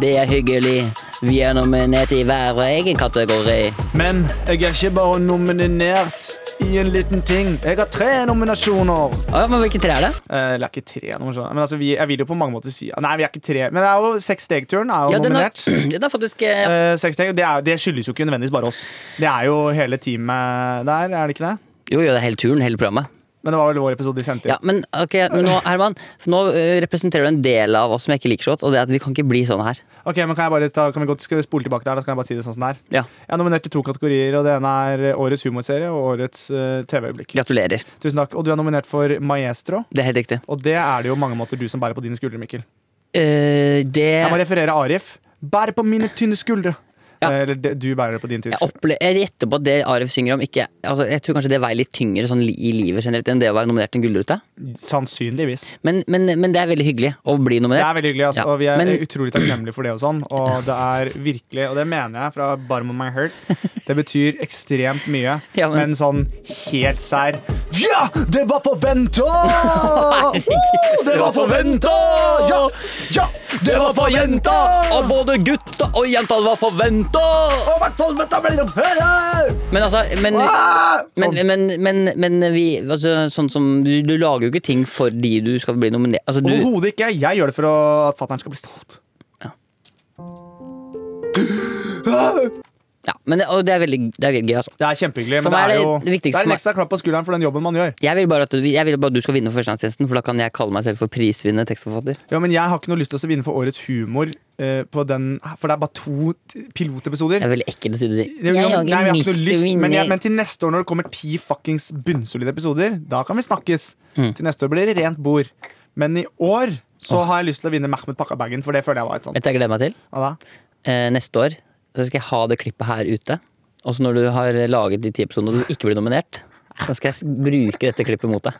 Speaker 2: Det er hyggelig. Vi er nominert i hver vår egen kategori.
Speaker 3: Men jeg er ikke bare nominert i en liten ting. Jeg har tre nominasjoner.
Speaker 2: Å ja, men hvilke tre er det?
Speaker 3: Eh, Eller er ikke tre nominasjoner, men altså, vi, jeg vil jo på mange måter si Nei, vi er ikke tre. Men det er jo Seks steg-turen er jo
Speaker 2: Ja, den er,
Speaker 3: nominert.
Speaker 2: den er faktisk eh,
Speaker 3: Eh, Seks steg, det, er, det skyldes jo ikke nødvendigvis bare oss. Det er jo hele teamet der, er det ikke det?
Speaker 2: Jo, jo, det er hele turen, hele programmet.
Speaker 3: Men det var vel vår episode de sendte inn.
Speaker 2: Ja, men ok, men nå, Herman, så nå eh, representerer du en del av oss som jeg ikke liker så godt, og det er at vi kan ikke bli sånn her.
Speaker 3: Ok, men kan, jeg bare ta, kan vi godt skal vi spole tilbake der? Da kan jeg bare si det sånn som det er.
Speaker 2: Ja,
Speaker 3: Jeg er nominert til to kategorier, og det ene er eh, årets humorserie og årets eh, TV-øyeblikk.
Speaker 2: Gratulerer.
Speaker 3: Tusen takk. Og du er nominert for Maestro,
Speaker 2: Det er helt riktig.
Speaker 3: og det er det jo mange måter du som bærer på dine skuldre, Mikkel.
Speaker 2: Eh, det
Speaker 3: Jeg må referere Arif. Bærer på mine tynne skuldre.
Speaker 2: Ja.
Speaker 3: Eh, Eller det- du bærer det på dine tynne
Speaker 2: Jeg,
Speaker 3: skuldre.
Speaker 2: opple- jeg gjetter på at det Arif synger om ikke, altså, Jeg tror kanskje det veier litt tyngre sånn, li- i livet generelt enn det å være nominert til en gullrute.
Speaker 3: Sannsynligvis.
Speaker 2: Men, men, men det er veldig hyggelig å bli
Speaker 3: Det er
Speaker 2: nominert.
Speaker 3: veldig hyggelig, altså,
Speaker 2: Ja,
Speaker 3: og vi er
Speaker 2: men-
Speaker 3: utrolig takknemlige for det og sånn. Og det er virkelig, og det mener jeg fra bottom of my heart, det betyr ekstremt mye.
Speaker 2: Ja, men-
Speaker 3: men... sånn helt sær Ja! Det var forventa! Oh, det var forventa! Ja! Ja! Det var forventa!
Speaker 2: Og både gutta og jenta var forventa!
Speaker 3: Og hvert fall dette blir å høre!
Speaker 2: Men altså men,
Speaker 3: Ah!
Speaker 2: men,
Speaker 3: Sånn.
Speaker 2: men, men, men vi altså, Sånn som du, du lager jo ikke ting fordi du skal bli nominert. Altså, du,
Speaker 3: Overhodet ikke. Jeg gjør det for å, at fatter'n skal bli stolt. Ah!
Speaker 2: ja, men, og det er veldig det er gøy, altså.
Speaker 3: Det er kjempehyggelig,
Speaker 2: For
Speaker 3: men det
Speaker 2: meg
Speaker 3: er,
Speaker 2: er det
Speaker 3: jo det
Speaker 2: viktigste
Speaker 3: er
Speaker 2: for
Speaker 3: en
Speaker 2: meg-
Speaker 3: ekstra klapp på skulderen for den jobben man gjør.
Speaker 2: Jeg vil bare at du, jeg vil bare at du skal vinne for førstegangstjenesten, for da kan jeg kalle meg selv for prisvinnende tekstforfatter.
Speaker 3: Ja, men jeg har ikke noe lyst til å vinne for årets humor, eh, på den, for det er bare to t- pilotepisoder.
Speaker 2: Det er veldig ekkelt å si det.
Speaker 3: Det-
Speaker 2: Jeg
Speaker 3: ja,
Speaker 2: har
Speaker 3: nei, jeg
Speaker 2: ikke
Speaker 3: har
Speaker 2: lyst til å
Speaker 3: men, jeg,
Speaker 2: vinne.
Speaker 3: men til neste år, når det kommer ti fuckings bunnsolide episoder, da kan vi snakkes.
Speaker 2: Mm.
Speaker 3: Til neste år blir det rent bord. Men i år så har jeg lyst til å vinne Mehmet Pakkabagen, for det føler jeg var et sånt.
Speaker 2: Vet du hva jeg gleder meg til?
Speaker 3: Hva da?
Speaker 2: eh, neste år så skal jeg ha det klippet her ute. Og så når du har laget de ti episodene og du ikke blir nominert, så skal jeg s- bruke dette klippet mot deg.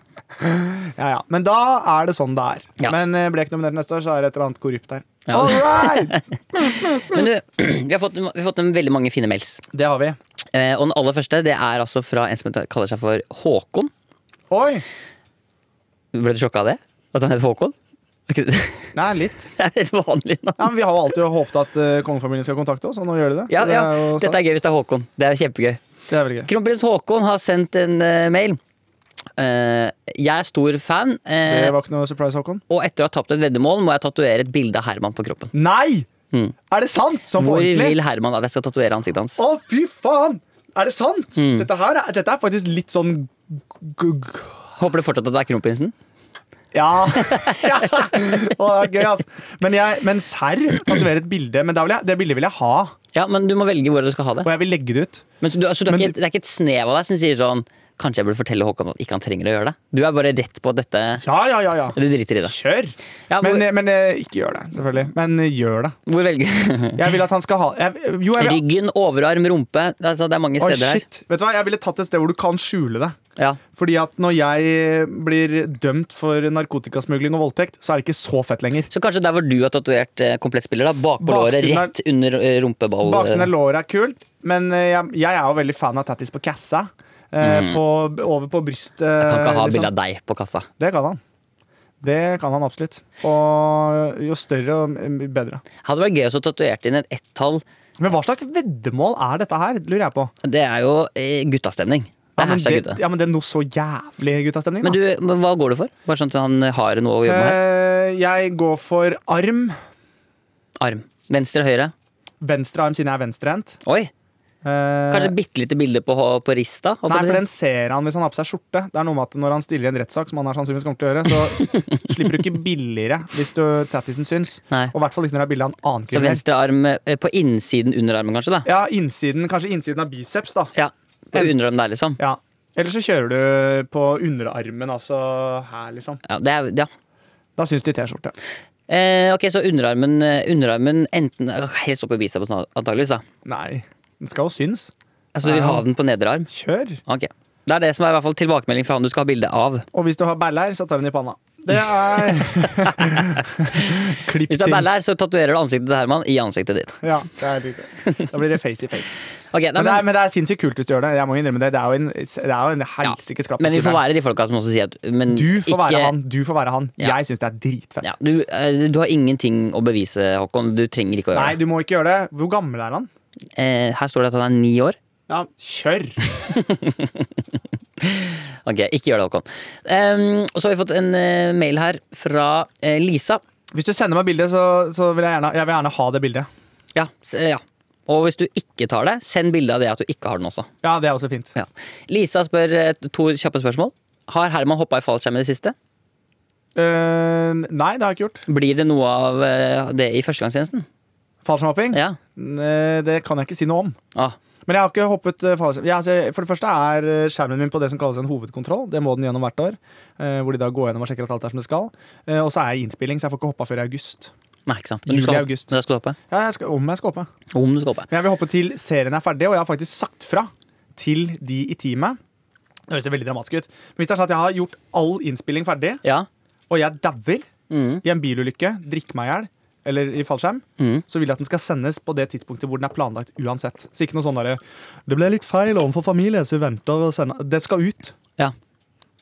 Speaker 3: Ja, ja. Men da er det sånn det er.
Speaker 2: Ja.
Speaker 3: Men eh, blir jeg ikke nominert neste år, så er det et eller annet korrupt her.
Speaker 2: Ja.
Speaker 3: All right!
Speaker 2: Men du, vi har fått, vi har fått en veldig mange fine mails.
Speaker 3: Det har vi.
Speaker 2: Eh, og den aller første det er altså fra en som heter- kaller seg for Håkon.
Speaker 3: Oi!
Speaker 2: Ble du sjokka av det? At han het Håkon? Ok, Det
Speaker 3: Nei, litt.
Speaker 2: er et vanlig navn.
Speaker 3: Ja, men vi har jo alltid håpet at eh, kongefamilien skal kontakte oss, og nå gjør de det.
Speaker 2: Ja,
Speaker 3: så det er
Speaker 2: ja.
Speaker 3: jo
Speaker 2: Dette er
Speaker 3: stas.
Speaker 2: gøy hvis det er Håkon. Det er kjempegøy.
Speaker 3: Det er veldig gøy.
Speaker 2: Kronprins Håkon har sendt en eh, mail. Eh, jeg er stor fan, eh,
Speaker 3: Det var ikke noe surprise, Håkon.
Speaker 2: og etter å ha tapt et veddemål må jeg tatovere et bilde av Herman på kroppen.
Speaker 3: Nei!
Speaker 2: Mm.
Speaker 3: Er det sant? Som
Speaker 2: Hvor
Speaker 3: for ordentlig?
Speaker 2: vil Herman at jeg skal tatovere ansiktet hans?
Speaker 3: Å, fy faen! Er det sant?
Speaker 2: Mm.
Speaker 3: Dette, her, er- dette er faktisk litt sånn gugg.
Speaker 2: Håper du fortsatt at det er kronprinsen?
Speaker 3: Ja. ja. Å, det er gøy, altså. Men, jeg- men serr? Tatovere et bilde. Men da vil jeg, det bildet vil jeg ha,
Speaker 2: Ja, men du må velge hvor du skal ha det.
Speaker 3: og jeg vil legge det ut.
Speaker 2: Men, så du, altså, du er
Speaker 3: Men
Speaker 2: ikke, det er ikke et snev av deg som sier sånn Kanskje jeg burde fortelle Håkon at ikke han trenger å gjøre det? Du er bare rett på at dette
Speaker 3: Ja, ja, ja. ja.
Speaker 2: Du driter i det.
Speaker 3: Kjør!
Speaker 2: Ja, hvor,
Speaker 3: Men, eh, men eh, ikke gjør det, selvfølgelig. Men eh, gjør det.
Speaker 2: hvor velger
Speaker 3: Jeg vil at han skal ha jeg, Jo, jeg vil
Speaker 2: Ryggen, overarm, rumpe. Altså, det er mange
Speaker 3: Å,
Speaker 2: steder her.
Speaker 3: shit. Vet du hva, jeg ville tatt et sted hvor du kan skjule det.
Speaker 2: Ja.
Speaker 3: Fordi at når jeg blir dømt for narkotikasmugling og voldtekt, så er det ikke så fett lenger.
Speaker 2: Så kanskje der hvor du har tatovert eh, komplettspiller, da. Bakpå låret,
Speaker 3: Baksiden er-
Speaker 2: rett under eh, rumpeball.
Speaker 3: Baksiden av låret er kult, men eh, jeg, jeg er jo veldig fan av tattis på kassa. eh, På, over på brystet.
Speaker 2: Mm. Jeg kan ikke ha
Speaker 3: liksom.
Speaker 2: bilde av deg på kassa.
Speaker 3: Det kan han. Det kan han absolutt. Og jo større, jo bedre.
Speaker 2: Hadde vært gøy å tatovere inn et ett-tall.
Speaker 3: Men hva slags veddemål er dette her? Lurer jeg på.
Speaker 2: Det er jo eh, guttastemning. Det
Speaker 3: Ja,
Speaker 2: er
Speaker 3: men
Speaker 2: hashtag
Speaker 3: det,
Speaker 2: gutta.
Speaker 3: ja, men det er noe så jævlig guttastemning,
Speaker 2: Men
Speaker 3: da.
Speaker 2: du, men hva går du for? Bare sånn at han har noe å jobbe med her.
Speaker 3: Eh, jeg går for arm.
Speaker 2: Arm. Venstre, høyre.
Speaker 3: Venstre arm, siden jeg er venstrehendt.
Speaker 2: Oi!
Speaker 3: Eh,
Speaker 2: Kanskje et bitte lite bilde på, hå- på rista? holdt
Speaker 3: Nei,
Speaker 2: jeg
Speaker 3: for
Speaker 2: på å
Speaker 3: den ser han hvis han har på seg skjorte. Det er noe med at Når han stiller i en rettssak, som han er sannsynligvis kommer til å gjøre, så slipper du ikke billigere hvis du tattisen syns.
Speaker 2: Nei.
Speaker 3: Og i hvert fall ikke når det er bilde av en annen
Speaker 2: si. Så
Speaker 3: kriminell.
Speaker 2: venstre arm eh, på innsiden under armen, kanskje? da?
Speaker 3: Ja, innsiden, Kanskje innsiden av biceps, da.
Speaker 2: Ja. På underarmen der, liksom.
Speaker 3: Ja. Eller så kjører du på underarmen, altså her, liksom.
Speaker 2: Ja, det er, ja.
Speaker 3: Da syns de T-skjorte.
Speaker 2: Eh, ok, så underarmen, eh, underarmen enten eh, Helst opp i bicepsen, antakeligvis. da.
Speaker 3: Nei. Den skal jo syns.
Speaker 2: Altså, du vil ha den på nedre arm?
Speaker 3: Kjør.
Speaker 2: Ok. Det er det som er i hvert fall tilbakemelding fra han du skal ha bilde av.
Speaker 3: Og hvis du har baller, så tar hun i panna. Det er Klipp
Speaker 2: Hvis du er ball her, så tatoverer du ansiktet til Herman i ansiktet ditt.
Speaker 3: Ja, det er riktig. Da blir det face i face.
Speaker 2: Ok, nei,
Speaker 3: Men, det er,
Speaker 2: men,
Speaker 3: men det er sinnssykt kult hvis du gjør det. Jeg må innrømme det. Det er jo en, det er jo en helsikes klapp på
Speaker 2: men vi får
Speaker 3: skulderen.
Speaker 2: være de folka som også sier at men
Speaker 3: Du får
Speaker 2: ikke-
Speaker 3: være han. Du får være han.
Speaker 2: Ja.
Speaker 3: Jeg syns det er dritfett.
Speaker 2: Ja, du, eh, du har ingenting å bevise, Håkon. Du trenger ikke å
Speaker 3: Nei,
Speaker 2: gjøre det.
Speaker 3: du må ikke gjøre det. Hvor gammel er han?
Speaker 2: Eh, her står det at han er ni år.
Speaker 3: Ja, kjør!
Speaker 2: Ok, ikke gjør det, Håkon. Em, og så har vi fått en eh, mail her fra eh, Lisa.
Speaker 3: Hvis du sender meg bildet, så, så vil jeg gjerne, jeg vil gjerne ha det bildet.
Speaker 2: Ja, s- eh, ja. Og hvis du ikke tar det, send bilde av det at du ikke har den også.
Speaker 3: Ja, det er også fint.
Speaker 2: Ja. Lisa spør eh, to kjappe spørsmål. Har Herman hoppa i fallskjerm i det siste?
Speaker 3: Eh, nei, det har jeg ikke gjort.
Speaker 2: Blir det noe av eh, det i førstegangstjenesten?
Speaker 3: Fallskjermhopping?
Speaker 2: Ja.
Speaker 3: Eh, Det kan jeg ikke si noe om.
Speaker 2: Ah,
Speaker 3: Men jeg har ikke hoppet eh, fallskjerm. Jeg, altså, for det første er eh, skjermen min på det som kalles en hovedkontroll. Det må den gjennom hvert år. eh, Hvor de da går gjennom og sjekker at alt er som det skal. Eh, Og så er jeg i innspilling, så jeg får ikke hoppa før i august.
Speaker 2: nei, ikke sant.
Speaker 3: Juli,
Speaker 2: du skal,
Speaker 3: august.
Speaker 2: men da skal du hoppe?
Speaker 3: Ja, jeg skal, om jeg skal hoppe.
Speaker 2: Om du skal hoppe.
Speaker 3: Men jeg vil hoppe til serien er ferdig, og jeg har faktisk sagt fra til de i teamet. Det høres jo veldig dramatisk ut. Men hvis det er sånn at jeg har gjort all innspilling ferdig,
Speaker 2: Ja.
Speaker 3: og jeg dauer
Speaker 2: Mm.
Speaker 3: i en bilulykke, drikker meg i hjel eller i fallskjerm,
Speaker 2: Mhm.
Speaker 3: så vil jeg at den skal sendes på det tidspunktet hvor den er planlagt uansett. Så ikke noe sånn derre Det ble litt feil overfor familie, så vi venter og sender Det skal ut.
Speaker 2: ja.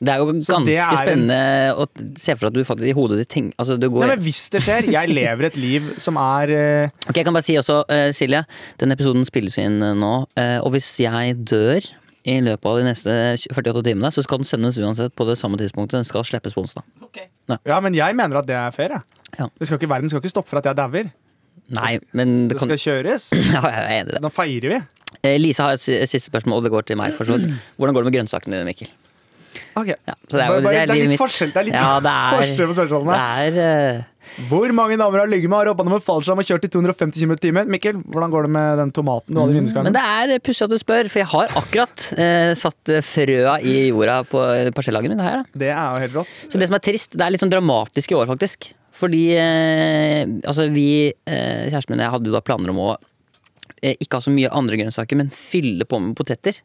Speaker 2: Det er jo
Speaker 3: Så
Speaker 2: ganske
Speaker 3: det er en-
Speaker 2: spennende å se for seg at du faktisk i hodet ditt tenker altså, du går,
Speaker 3: Nei, men hvis det skjer Jeg lever et liv som er eh,
Speaker 2: Ok, Jeg kan bare si også, eh, Silje, den episoden spilles jo inn eh, nå. eh, og hvis jeg dør i løpet av de neste 48 timene, så skal den sendes uansett på det samme tidspunktet. Den skal slippes på onsdag.
Speaker 3: Ja, men jeg mener at det er fair, jeg.
Speaker 2: Ja.
Speaker 3: Det skal ikke, verden skal ikke stoppe for at jeg dauer.
Speaker 2: Nei, men det
Speaker 3: Altså, Det
Speaker 2: kan
Speaker 3: skal kjøres.
Speaker 2: ja, jeg er enig i det.
Speaker 3: Nå feirer vi.
Speaker 2: Eh, Lisa har et si- siste spørsmål, og det går til meg. for så vidt. Hvordan går det med grønnsakene dine, Mikkel?
Speaker 3: Ok.
Speaker 2: Ja, så det, er,
Speaker 3: Bare-
Speaker 2: jo-
Speaker 3: bare- det er
Speaker 2: livet
Speaker 3: litt
Speaker 2: mitt.
Speaker 3: forskjell- det er litt
Speaker 2: ja, det er,
Speaker 3: forskjell på spørsmålene.
Speaker 2: Det er, eh,
Speaker 3: Hvor mange damer har ligget med, har hoppa med fallskjerm og kjørt i 250 km i timen? Mikkel, hvordan går det med den tomaten du hadde
Speaker 2: Mm,
Speaker 3: i
Speaker 2: men
Speaker 3: vinduskarmen?
Speaker 2: det er pussig at du spør, for jeg har akkurat eh, satt eh, frøa i jorda på eh, parsellagen min. Her, da.
Speaker 3: Det er jo helt rått.
Speaker 2: Så det som er trist, det er litt sånn dramatisk i år, faktisk. Fordi eh, altså vi, eh, kjæresten min og jeg, hadde jo da planer om å eh, ikke ha så mye andre grønnsaker, men fylle på med poteter.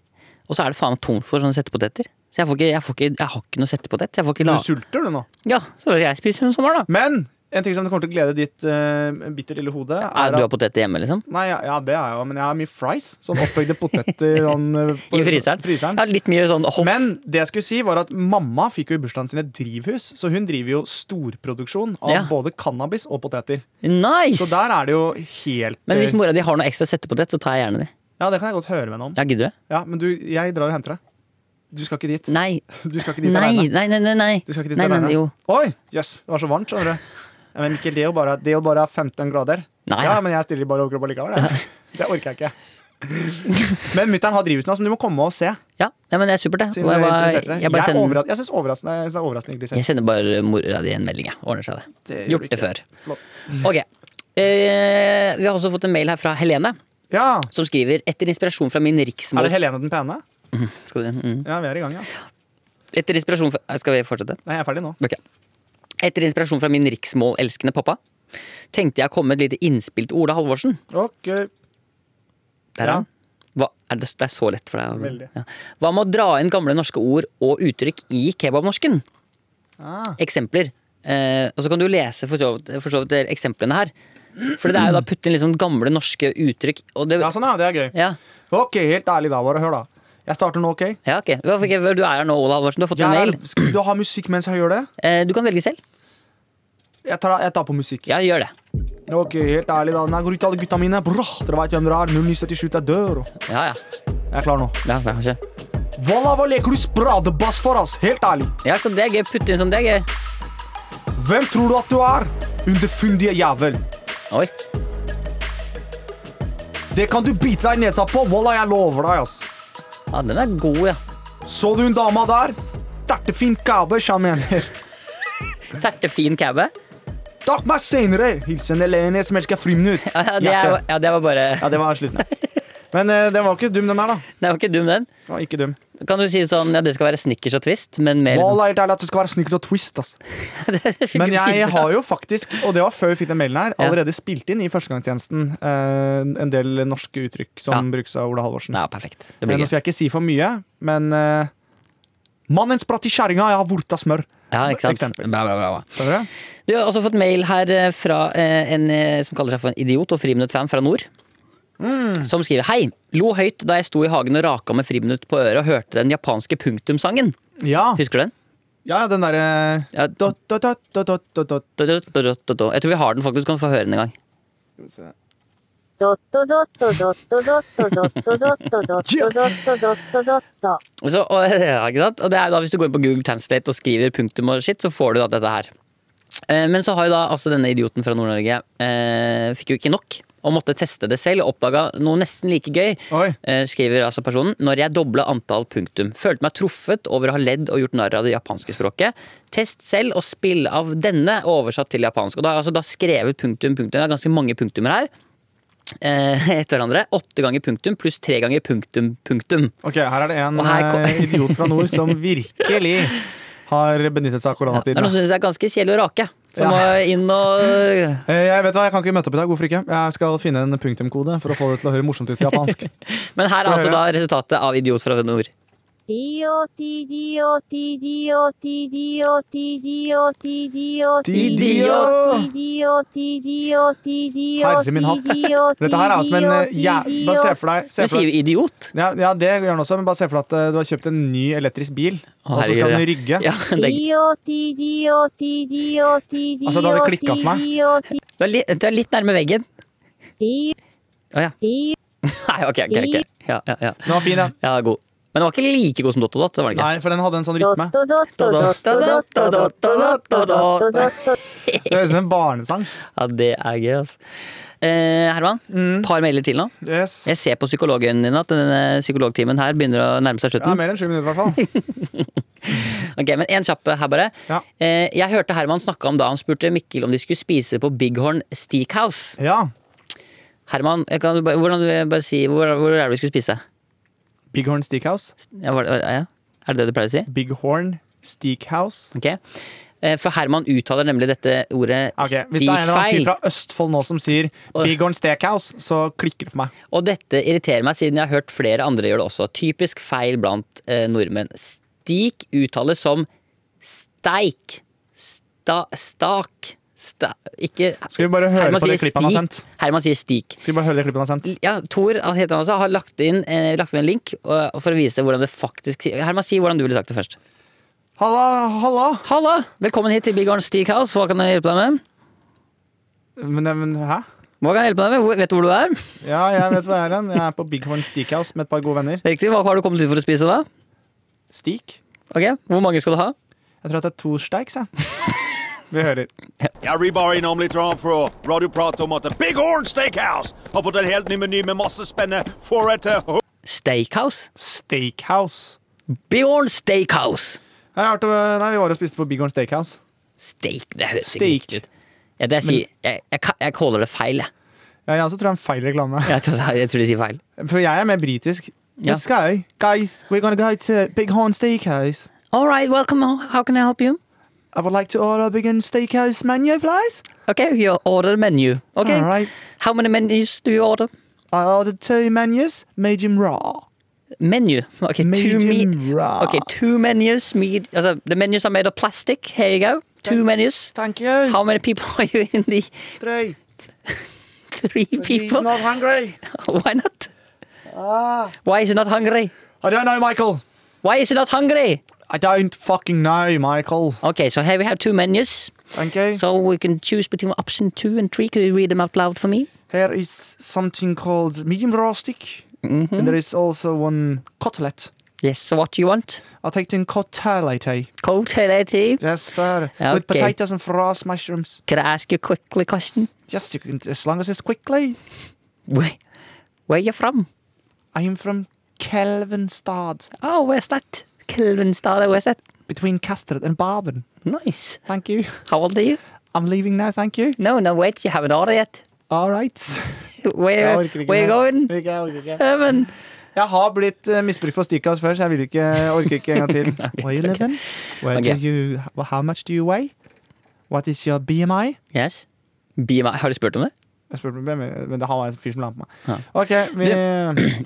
Speaker 2: Og så er det faen meg tomt for sånne settepoteter. Så jeg, får ikke, jeg, får ikke, jeg har ikke noe settepotet. Jeg får ikke
Speaker 3: Du
Speaker 2: la
Speaker 3: sulter, du nå.
Speaker 2: Ja, så jeg spiser en sommer, da.
Speaker 3: Men en ting som kommer til å glede ditt eh, bitter lille hode,
Speaker 2: Er
Speaker 3: er
Speaker 2: du har
Speaker 3: at
Speaker 2: poteter hjemme, liksom?
Speaker 3: Nei, ja, ja, det er jeg jo, men jeg har mye fries. Sånn oppbygde poteter sånn, eh, på-
Speaker 2: I fryseren?
Speaker 3: fryseren.
Speaker 2: Ja, litt mye sånn hoff.
Speaker 3: Men det jeg skulle si var at mamma fikk jo i bursdagen sin et drivhus, så hun driver jo storproduksjon av
Speaker 2: Ja.
Speaker 3: både cannabis og poteter.
Speaker 2: nice!
Speaker 3: Så der er det jo helt
Speaker 2: Men hvis
Speaker 3: eh,
Speaker 2: mora di har noe ekstra settepotet, så tar jeg gjerne de.
Speaker 3: Ja, det kan jeg godt høre med henne om.
Speaker 2: Ja, gidder du?
Speaker 3: Ja, men du, jeg drar og henter deg. Du skal ikke dit.
Speaker 2: Nei.
Speaker 3: Du skal ikke dit
Speaker 2: Nei,
Speaker 3: alene.
Speaker 2: nei, nei. nei, nei.
Speaker 3: Du skal ikke dit
Speaker 2: nei, nei,
Speaker 3: alene.
Speaker 2: nei jo.
Speaker 3: Oi, jøss, det var så varmt, skjønner du. Ja, men Mikkel, det er jo bare, det er jo bare 15 grader.
Speaker 2: Nei.
Speaker 3: Ja, men jeg stiller i bare overkropp allikevel. jeg. Det orker jeg ikke. Men mutter'n har drivhus nå, som du må komme og se.
Speaker 2: Ja, nei, men det er supert, det.
Speaker 3: Siden
Speaker 2: Og
Speaker 3: du
Speaker 2: jeg,
Speaker 3: er
Speaker 2: bare,
Speaker 3: interessert i det.
Speaker 2: jeg, bare
Speaker 3: Jeg er
Speaker 2: sender,
Speaker 3: overras- jeg syns overraskende, jeg synes det er overraskende hyggelig
Speaker 2: jeg sender bare mora di en melding. jeg. Ordner seg, det.
Speaker 3: Det gjør
Speaker 2: Gjort
Speaker 3: du
Speaker 2: det
Speaker 3: ikke.
Speaker 2: før.
Speaker 3: Flott.
Speaker 2: Ok. Eh, vi har også fått en mail her fra Helene,
Speaker 3: Ja.
Speaker 2: som skriver etter inspirasjon fra min riksmåls...
Speaker 3: Er det Helene den pene?
Speaker 2: Skal vi, mm.
Speaker 3: Ja, vi er i gang, ja.
Speaker 2: Etter inspirasjon fra, skal vi fortsette?
Speaker 3: Nei, jeg er ferdig nå.
Speaker 2: Ok. Etter inspirasjon fra min riksmålelskende pappa tenkte jeg å komme med et lite innspill til Ola Halvorsen.
Speaker 3: Ok.
Speaker 2: Der er
Speaker 3: Ja.
Speaker 2: han. Hva, er det, det er så lett for deg. å-
Speaker 3: Veldig.
Speaker 2: Ja. Hva med å dra inn gamle norske ord og uttrykk i kebabnorsken?
Speaker 3: Ah.
Speaker 2: Eksempler. Eh, og så kan du lese for så, vidt- for så vidt eksemplene her. For det er jo da å putte inn litt sånn gamle norske uttrykk. Og det,
Speaker 3: Ja, sånn, ja. Det er gøy.
Speaker 2: ja,
Speaker 3: Ok, helt ærlig da, bare hør, da. Jeg starter nå, OK?
Speaker 2: ja, ok. Hva fikk jeg- Du er her nå, Ola Halvorsen. Du har fått en
Speaker 3: Jeg er,
Speaker 2: mail.
Speaker 3: skal du ha musikk mens jeg gjør det?
Speaker 2: Eh, du kan velge selv.
Speaker 3: Jeg tar, jeg tar på musikk.
Speaker 2: Ja, gjør det.
Speaker 3: Ok, helt ærlig da. Nei, går ut til alle gutta mine. Bra, dere vet hvem dere er. 0977 til dør.
Speaker 2: Ja, ja.
Speaker 3: Jeg er klar nå.
Speaker 2: ja, kanskje.
Speaker 3: Voila, hva leker du spradebass for, ass? Helt ærlig.
Speaker 2: ja så det er gøy. Putte inn sånn, det er gøy.
Speaker 3: Hvem tror du at du er? Underfundige jævel.
Speaker 2: Oi.
Speaker 3: Det kan du bite deg i nesa på. Voila, jeg lover deg, ass.
Speaker 2: Ja, den er god, ja.
Speaker 3: Så du hun dama der? Tertefin kæbe, jeg mener.
Speaker 2: Tertefin caube.
Speaker 3: Takk meg senere. Hilsen Helene som elsker friminutt.
Speaker 2: Ja, ja, det er- ja, det var bare
Speaker 3: Ja, det var slutten. ja. Men eh, den var ikke dum, den her, da.
Speaker 2: Den var ikke dum, den.
Speaker 3: Den var ikke dum.
Speaker 2: Kan du si sånn ja, det skal være snickers og twist, men mer sånn-
Speaker 3: Voila, helt ærlig at det skal være snickers og twist, ass. Men jeg har jo faktisk, og det var før vi fikk den mailen her,
Speaker 2: Ja.
Speaker 3: allerede spilt inn i førstegangstjenesten eh, en del norske uttrykk som
Speaker 2: Ja.
Speaker 3: brukes av Ola Halvorsen.
Speaker 2: Ja, perfekt. Det blir
Speaker 3: Men Nå
Speaker 2: gøy.
Speaker 3: skal jeg ikke si for mye, men eh, Mannen spratt i kjerringa, jeg har vorta smør.
Speaker 2: Ja, ikke sant?
Speaker 3: Eksempel.
Speaker 2: Bra, bra, bra, bra.
Speaker 3: Skjønner du?
Speaker 2: Du har også fått mail her eh, fra eh, en eh, som kaller seg for en idiot og friminuttfan fra nord.
Speaker 3: Mm.
Speaker 2: som skriver Hei, lo høyt da jeg sto i hagen og raka med friminutt på øret og hørte den japanske punktumsangen.
Speaker 3: Ja,
Speaker 2: Husker du den?
Speaker 3: ja den derre
Speaker 2: Ja.
Speaker 3: Dot, dot, dot, dot, dot, dot, dot.
Speaker 2: Da, da, da, da, da. Jeg tror vi har den faktisk, du kan få høre den en gang.
Speaker 5: ドットドットドットドットドットドットドットドットドットドット。
Speaker 2: Og Så, og, ja, ikke sant? Og det er da Hvis du går inn på Google Translate og skriver punktum og shit, så får du da dette her. Eh, Men så har jo da altså denne idioten fra Nord-Norge eh, fikk jo ikke nok og måtte teste det selv og oppdaga noe nesten like gøy.
Speaker 3: Oi.
Speaker 2: Eh, skriver altså personen Når jeg dobla antall punktum. Følte meg truffet over å ha ledd og gjort narr av det japanske språket. Test selv og spill av denne oversatt til japansk. Og da har jeg altså da skrevet punktum, punktum. Det er ganske mange punktumer her. Eh, etter hverandre. Åtte ganger punktum pluss tre ganger punktum, punktum.
Speaker 3: Ok, her er det en
Speaker 2: Og her kom-
Speaker 3: eh, idiot fra nord som virkelig har benyttet seg
Speaker 2: Det
Speaker 3: av
Speaker 2: er
Speaker 3: koronatiden.
Speaker 2: noen som syns jeg er ganske kjedelig å rake. Som
Speaker 3: Ja.
Speaker 2: må inn og
Speaker 3: Eh, Jeg vet hva, jeg kan ikke møte opp i dag, hvorfor ikke? Jeg skal finne en punktumkode for å få det til å høre morsomt ut på japansk.
Speaker 2: Men her er
Speaker 3: Få
Speaker 2: altså da
Speaker 3: høre.
Speaker 2: resultatet av Idiot fra nord.
Speaker 3: Herre min hatt. Dette her er jo som en eh, jæ... Bare se for deg, se
Speaker 2: Men
Speaker 3: for
Speaker 2: sier
Speaker 3: deg.
Speaker 2: jo idiot.
Speaker 3: Ja, ja, det gjør den også, men bare se for deg at eh, du har kjøpt en ny elektrisk bil, og så skal
Speaker 2: herregud,
Speaker 3: den rygge.
Speaker 2: Ja, det, er-
Speaker 5: Altså,
Speaker 3: da hadde det klikket for
Speaker 2: det, er litt, det er litt nærme veggen. Å ja. Nei, ok, ok. ok. Ja, ja, ja.
Speaker 3: Den var fin, ja.
Speaker 2: ja, god. Men det var ikke like god som Dotto Dott. Det var det ikke.
Speaker 3: Nei, for den hadde en sånn rytme. Det høres ut som en barnesang.
Speaker 2: Ja, det er gøy, altså. Eh, Herman,
Speaker 3: Mm.
Speaker 2: par mailer til nå.
Speaker 3: Yes.
Speaker 2: Jeg ser på psykologen din at denne psykologtimen her begynner å nærme seg
Speaker 3: Ja,
Speaker 2: slutten.
Speaker 3: mer enn sju minutter, i hvert fall.
Speaker 2: Ok, men En kjapp her, bare.
Speaker 3: Ja.
Speaker 2: Eh, jeg hørte Herman snakke om da han spurte Mikkel om de skulle spise på Bighorn Steakhouse.
Speaker 3: Ja.
Speaker 2: Herman, jeg kan, bare- hvordan vil jeg bare si, hvor, hvor er det vi skulle spise?
Speaker 3: Bighorn Steakhouse.
Speaker 2: Ja, var, det- ja. Er det det du pleier å si?
Speaker 3: Bighorn Steakhouse.
Speaker 2: Ok. Eh, for Herman uttaler nemlig dette ordet
Speaker 3: Ok, Hvis det er en eller annen fyr
Speaker 2: stikfeil.
Speaker 3: fra Østfold nå som sier Bighorn Steakhouse, så klikker det for meg.
Speaker 2: Og dette irriterer meg, siden jeg har hørt flere andre gjøre det også. Typisk feil blant eh, nordmenn. Stik uttales som steik. Sta, stak. Sta, ikke
Speaker 3: Skal vi bare høre
Speaker 2: Herman
Speaker 3: på det
Speaker 2: sier
Speaker 3: klippet han har
Speaker 2: stik.
Speaker 3: sendt?
Speaker 2: Herman sier stik.
Speaker 3: Skal vi bare høre det klippet han har sendt?
Speaker 2: ja, Tor han heter han altså, har lagt inn, eh, lagt inn en link og, og for å vise hvordan det faktisk sier- Herman, si hvordan du ville sagt det først.
Speaker 3: Halla, halla!
Speaker 2: Halla! Velkommen hit til Big Orange Steakhouse. Hva kan jeg hjelpe deg med?
Speaker 3: Men, eh, men hæ?
Speaker 2: Hva kan jeg hjelpe deg med? Hvor, vet du hvor du er?
Speaker 3: Ja, jeg vet hva jeg er hen. Jeg er på Bighorn Steakhouse med et par gode venner.
Speaker 2: Det er Riktig, Hva har du kommet hit for å spise, da?
Speaker 3: Steak?
Speaker 2: Ok, Hvor mange skal du ha?
Speaker 3: Jeg tror at det er to steaks, jeg. Vi hører.
Speaker 6: Jeg Rebar er nemlig Trump fra Radio Prat om at The Big Horn Steakhouse har fått en helt ny meny med masse spennende forretter.
Speaker 2: Steakhouse?
Speaker 3: Steakhouse.
Speaker 2: Bjorn Steakhouse!
Speaker 3: Jeg har hørt, om- nei, vi var og spiste på Bighorn Steakhouse.
Speaker 2: Steak, det høres ikke
Speaker 3: Steak.
Speaker 2: riktig ut. Ja, det jeg, sier, jeg, jeg, ka- jeg caller det feil, jeg.
Speaker 3: Ja, jeg også tror det er en feil reklame.
Speaker 2: Jeg tror, jeg tror de sier feil.
Speaker 3: For jeg er mer britisk.
Speaker 2: Ja.
Speaker 3: Let's go. Guys, we're gonna go to Bighorn Steakhouse.
Speaker 2: All right, welcome. How can I help you?
Speaker 3: I would like to order a Bighorn Steakhouse menu, please.
Speaker 2: Ok, you order menu. Ok,
Speaker 3: All right.
Speaker 2: How many menus do you order?
Speaker 3: I ordered two menus, medium raw.
Speaker 2: Menu. Okay, two
Speaker 3: Medium
Speaker 2: me-
Speaker 3: raw.
Speaker 2: Okay, two menus. Med- also, the menus are made of plastic. Here you go. Two menus.
Speaker 3: Thank you.
Speaker 2: How many people are you in the
Speaker 3: Three.
Speaker 2: three people?
Speaker 3: hungry.
Speaker 2: Why not? Why is he not hungry?
Speaker 3: I don't know, Michael.
Speaker 2: Why is he not hungry?
Speaker 3: I don't fucking know, Michael.
Speaker 2: Okay, so here we have two menus.
Speaker 3: Thank you.
Speaker 2: So we can choose between option two and three. Could you read them out loud for me?
Speaker 3: Here is something called medium raw stick.
Speaker 2: Mm-hmm.
Speaker 3: And there is also one cutlet.
Speaker 2: Yes, so what do you want?
Speaker 3: I'll take the cutlet. eh?
Speaker 2: Cold tea.
Speaker 3: Yes, sir.
Speaker 2: Okay.
Speaker 3: With potatoes and frost mushrooms.
Speaker 2: Can I ask you quickly a question?
Speaker 3: Yes, you can, as long as it's quickly.
Speaker 2: Where, where you from?
Speaker 3: I am from Kelvinstad,
Speaker 2: Oh, where's that? Kelvinstad, where's that?
Speaker 3: between Kastrup and Baden.
Speaker 2: Nice.
Speaker 3: Thank you.
Speaker 2: How old are you?
Speaker 3: I'm leaving now, thank you.
Speaker 2: No, no, wait, you haven't ordered yet.
Speaker 3: All right.
Speaker 2: Where, where you going? Heaven.
Speaker 3: Jeg har blitt eh, misbrukt på Stickhouse før, så jeg vil ikke, jeg orker ikke en gang til. Where you living? Where
Speaker 2: Ok.
Speaker 3: do you, how much do you weigh? What is your BMI?
Speaker 2: Yes. BMI. Har du spurt om det?
Speaker 3: Jeg spurte om BMI, men det var en fyr som la på meg.
Speaker 2: Ja.
Speaker 3: Ok, vi...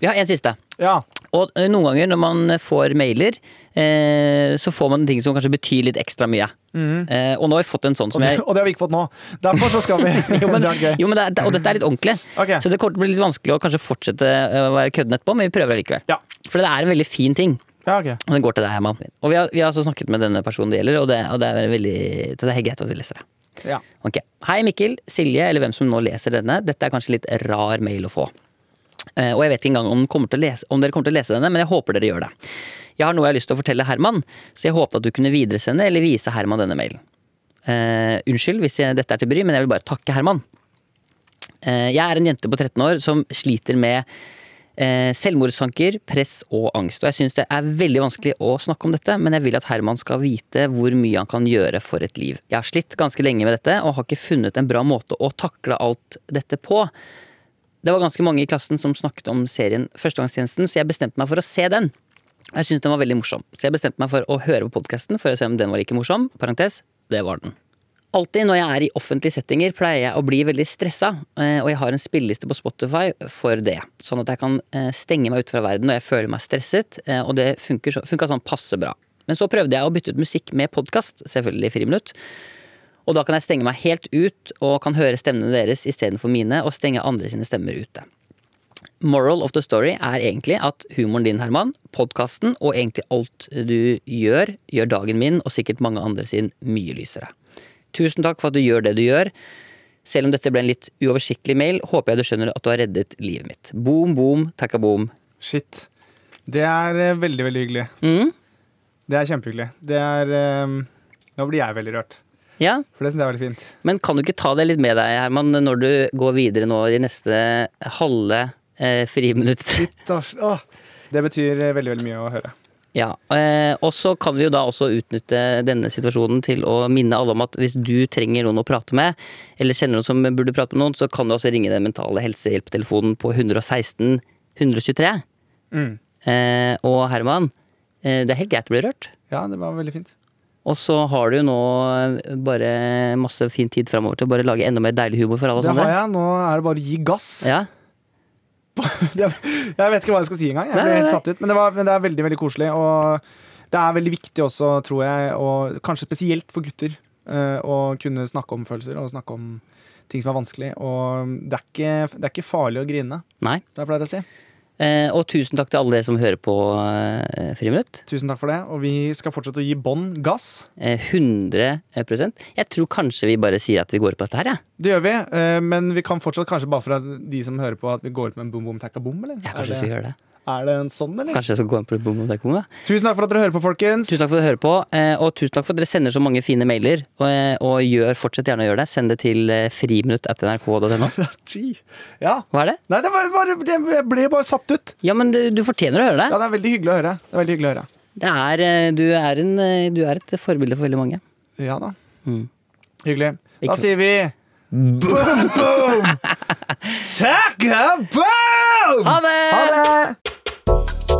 Speaker 2: Vi har en siste.
Speaker 3: Ja.
Speaker 2: Og eh, noen ganger når man får mailer, eh, så får man ting som kanskje betyr litt ekstra mye.
Speaker 3: Mm.
Speaker 2: Eh, og nå har vi fått en sånn
Speaker 3: Og
Speaker 2: som
Speaker 3: det,
Speaker 2: jeg
Speaker 3: og det har vi ikke fått nå. Derfor så skal vi
Speaker 2: jo, men,
Speaker 3: Det er gøy.
Speaker 2: jo, men det er, og dette er litt ordentlig,
Speaker 3: Ok.
Speaker 2: så det kommer til å bli litt vanskelig å kanskje fortsette eh, å være kødden etterpå, men vi prøver allikevel.
Speaker 3: Ja.
Speaker 2: For det er en veldig fin ting.
Speaker 3: Ja, ok.
Speaker 2: Og den går til deg, Herman. Og vi har, vi har altså snakket med denne personen det gjelder, og det, og det er veldig, så det er helt greit at vi leser det.
Speaker 3: Ja.
Speaker 2: Ok. Hei Mikkel, Silje eller hvem som nå leser denne. Dette er kanskje litt rar mail å få. Eh, Og jeg vet ikke engang om, den kommer til å lese, om dere kommer til å lese denne, men jeg håper dere gjør det. Jeg har noe jeg har lyst til å fortelle Herman, så jeg håpet at du kunne videresende eller vise Herman denne mailen. Eh, unnskyld hvis jeg, dette er til bry, men jeg vil bare takke Herman. Eh, jeg er en jente på 13 år som sliter med eh, selvmordstanker, press og angst. Og jeg syns det er veldig vanskelig å snakke om dette, men jeg vil at Herman skal vite hvor mye han kan gjøre for et liv. Jeg har slitt ganske lenge med dette, og har ikke funnet en bra måte å takle alt dette på. Det var ganske mange i klassen som snakket om serien Førstegangstjenesten, så jeg bestemte meg for å se den. Jeg syntes den var veldig morsom, så jeg bestemte meg for å høre på podkasten for å se om den var like morsom. Parentes, det var den. Alltid når jeg er i offentlige settinger, pleier jeg å bli veldig stressa, eh, og jeg har en spilleliste på Spotify for det, sånn at jeg kan eh, stenge meg ute fra verden når jeg føler meg stresset, eh, og det funker så- funka sånn passe bra. Men så prøvde jeg å bytte ut musikk med podkast, selvfølgelig i friminutt, og da kan jeg stenge meg helt ut og kan høre stemmene deres istedenfor mine, og stenge andre sine stemmer ute. Moral of the story er egentlig at humoren din, Herman, podkasten og egentlig alt du gjør, gjør dagen min og sikkert mange andre sin mye lysere. Tusen takk for at du gjør det du gjør. Selv om dette ble en litt uoversiktlig mail, håper jeg du skjønner at du har reddet livet mitt. Boom, boom, takka boom.
Speaker 3: Shit. Det er eh, veldig, veldig hyggelig.
Speaker 2: Mm.
Speaker 3: Det er kjempehyggelig. Det er eh, Nå blir jeg veldig rørt,
Speaker 2: Ja,
Speaker 3: for det syns jeg er veldig fint.
Speaker 2: men kan du ikke ta det litt med deg, Herman, når du går videre nå i neste halve eh, friminutt?
Speaker 3: Dars- Åh, det betyr eh, veldig, veldig mye å høre.
Speaker 2: Ja, eh, og så kan vi jo da også utnytte denne situasjonen til å minne alle om at hvis du trenger noen å prate med, eller kjenner noen som burde prate med noen, så kan du også ringe den mentale helsehjelptelefonen på 116 123.
Speaker 3: Mm.
Speaker 2: Eh, og Herman, eh, det er helt greit å bli rørt.
Speaker 3: Ja, det var veldig fint.
Speaker 2: Og så har du jo nå eh, bare masse fin tid framover til å bare lage enda mer deilig humor for alle
Speaker 3: Det har
Speaker 2: sammen.
Speaker 3: jeg. Nå er det bare å gi gass.
Speaker 2: Ja,
Speaker 3: Jeg jeg vet ikke hva jeg skal si engang. Jeg
Speaker 2: Nei,
Speaker 3: ble
Speaker 2: nei,
Speaker 3: helt
Speaker 2: nei.
Speaker 3: satt ut. Men det, var, men det er veldig, veldig koselig. Og det er veldig viktig også, tror jeg, og kanskje spesielt for gutter, eh, å kunne snakke om følelser og snakke om ting som er vanskelig. Og det er ikke, det er ikke farlig å grine,
Speaker 2: nei.
Speaker 3: det jeg pleier å si.
Speaker 2: Eh, og tusen takk til alle dere som hører på eh, Friminutt.
Speaker 3: Tusen takk for det. Og vi skal fortsette å gi bånn gass.
Speaker 2: Eh, 100 Jeg tror kanskje vi bare sier at vi går på dette her, jeg.
Speaker 3: Det gjør vi, eh, men vi kan fortsatt kanskje bare for at de som hører på, at vi går ut med en boom boom takka boom, eller?
Speaker 2: Ja, kanskje jeg skal
Speaker 3: er, det,
Speaker 2: gjøre det.
Speaker 3: er det en sånn, eller?
Speaker 2: Kanskje jeg skal gå inn på bom og dekkbom, da.
Speaker 3: Tusen takk for at dere hører på, folkens.
Speaker 2: Tusen takk for at dere hører på, eh, og tusen takk for at dere sender så mange fine mailer. Og, eh, og gjør, fortsett gjerne å gjøre det. Send det til eh, friminutt.nrk.no.
Speaker 3: Gee. Ja.
Speaker 2: Hva er det?
Speaker 3: Nei, det var bare, det, jeg ble bare satt ut.
Speaker 2: Ja, men du, du fortjener å høre
Speaker 3: Ja,
Speaker 2: det.
Speaker 3: det er veldig hyggelig å høre. Det er veldig hyggelig å høre.
Speaker 2: det er, eh, du, er en, eh, du er et forbilde for veldig mange.
Speaker 3: Ja da.
Speaker 2: Mm.
Speaker 3: Hyggelig. Da
Speaker 2: Ikke-
Speaker 3: sier vi boom, boom! Takka boom!
Speaker 2: Ha det!
Speaker 3: Ha det!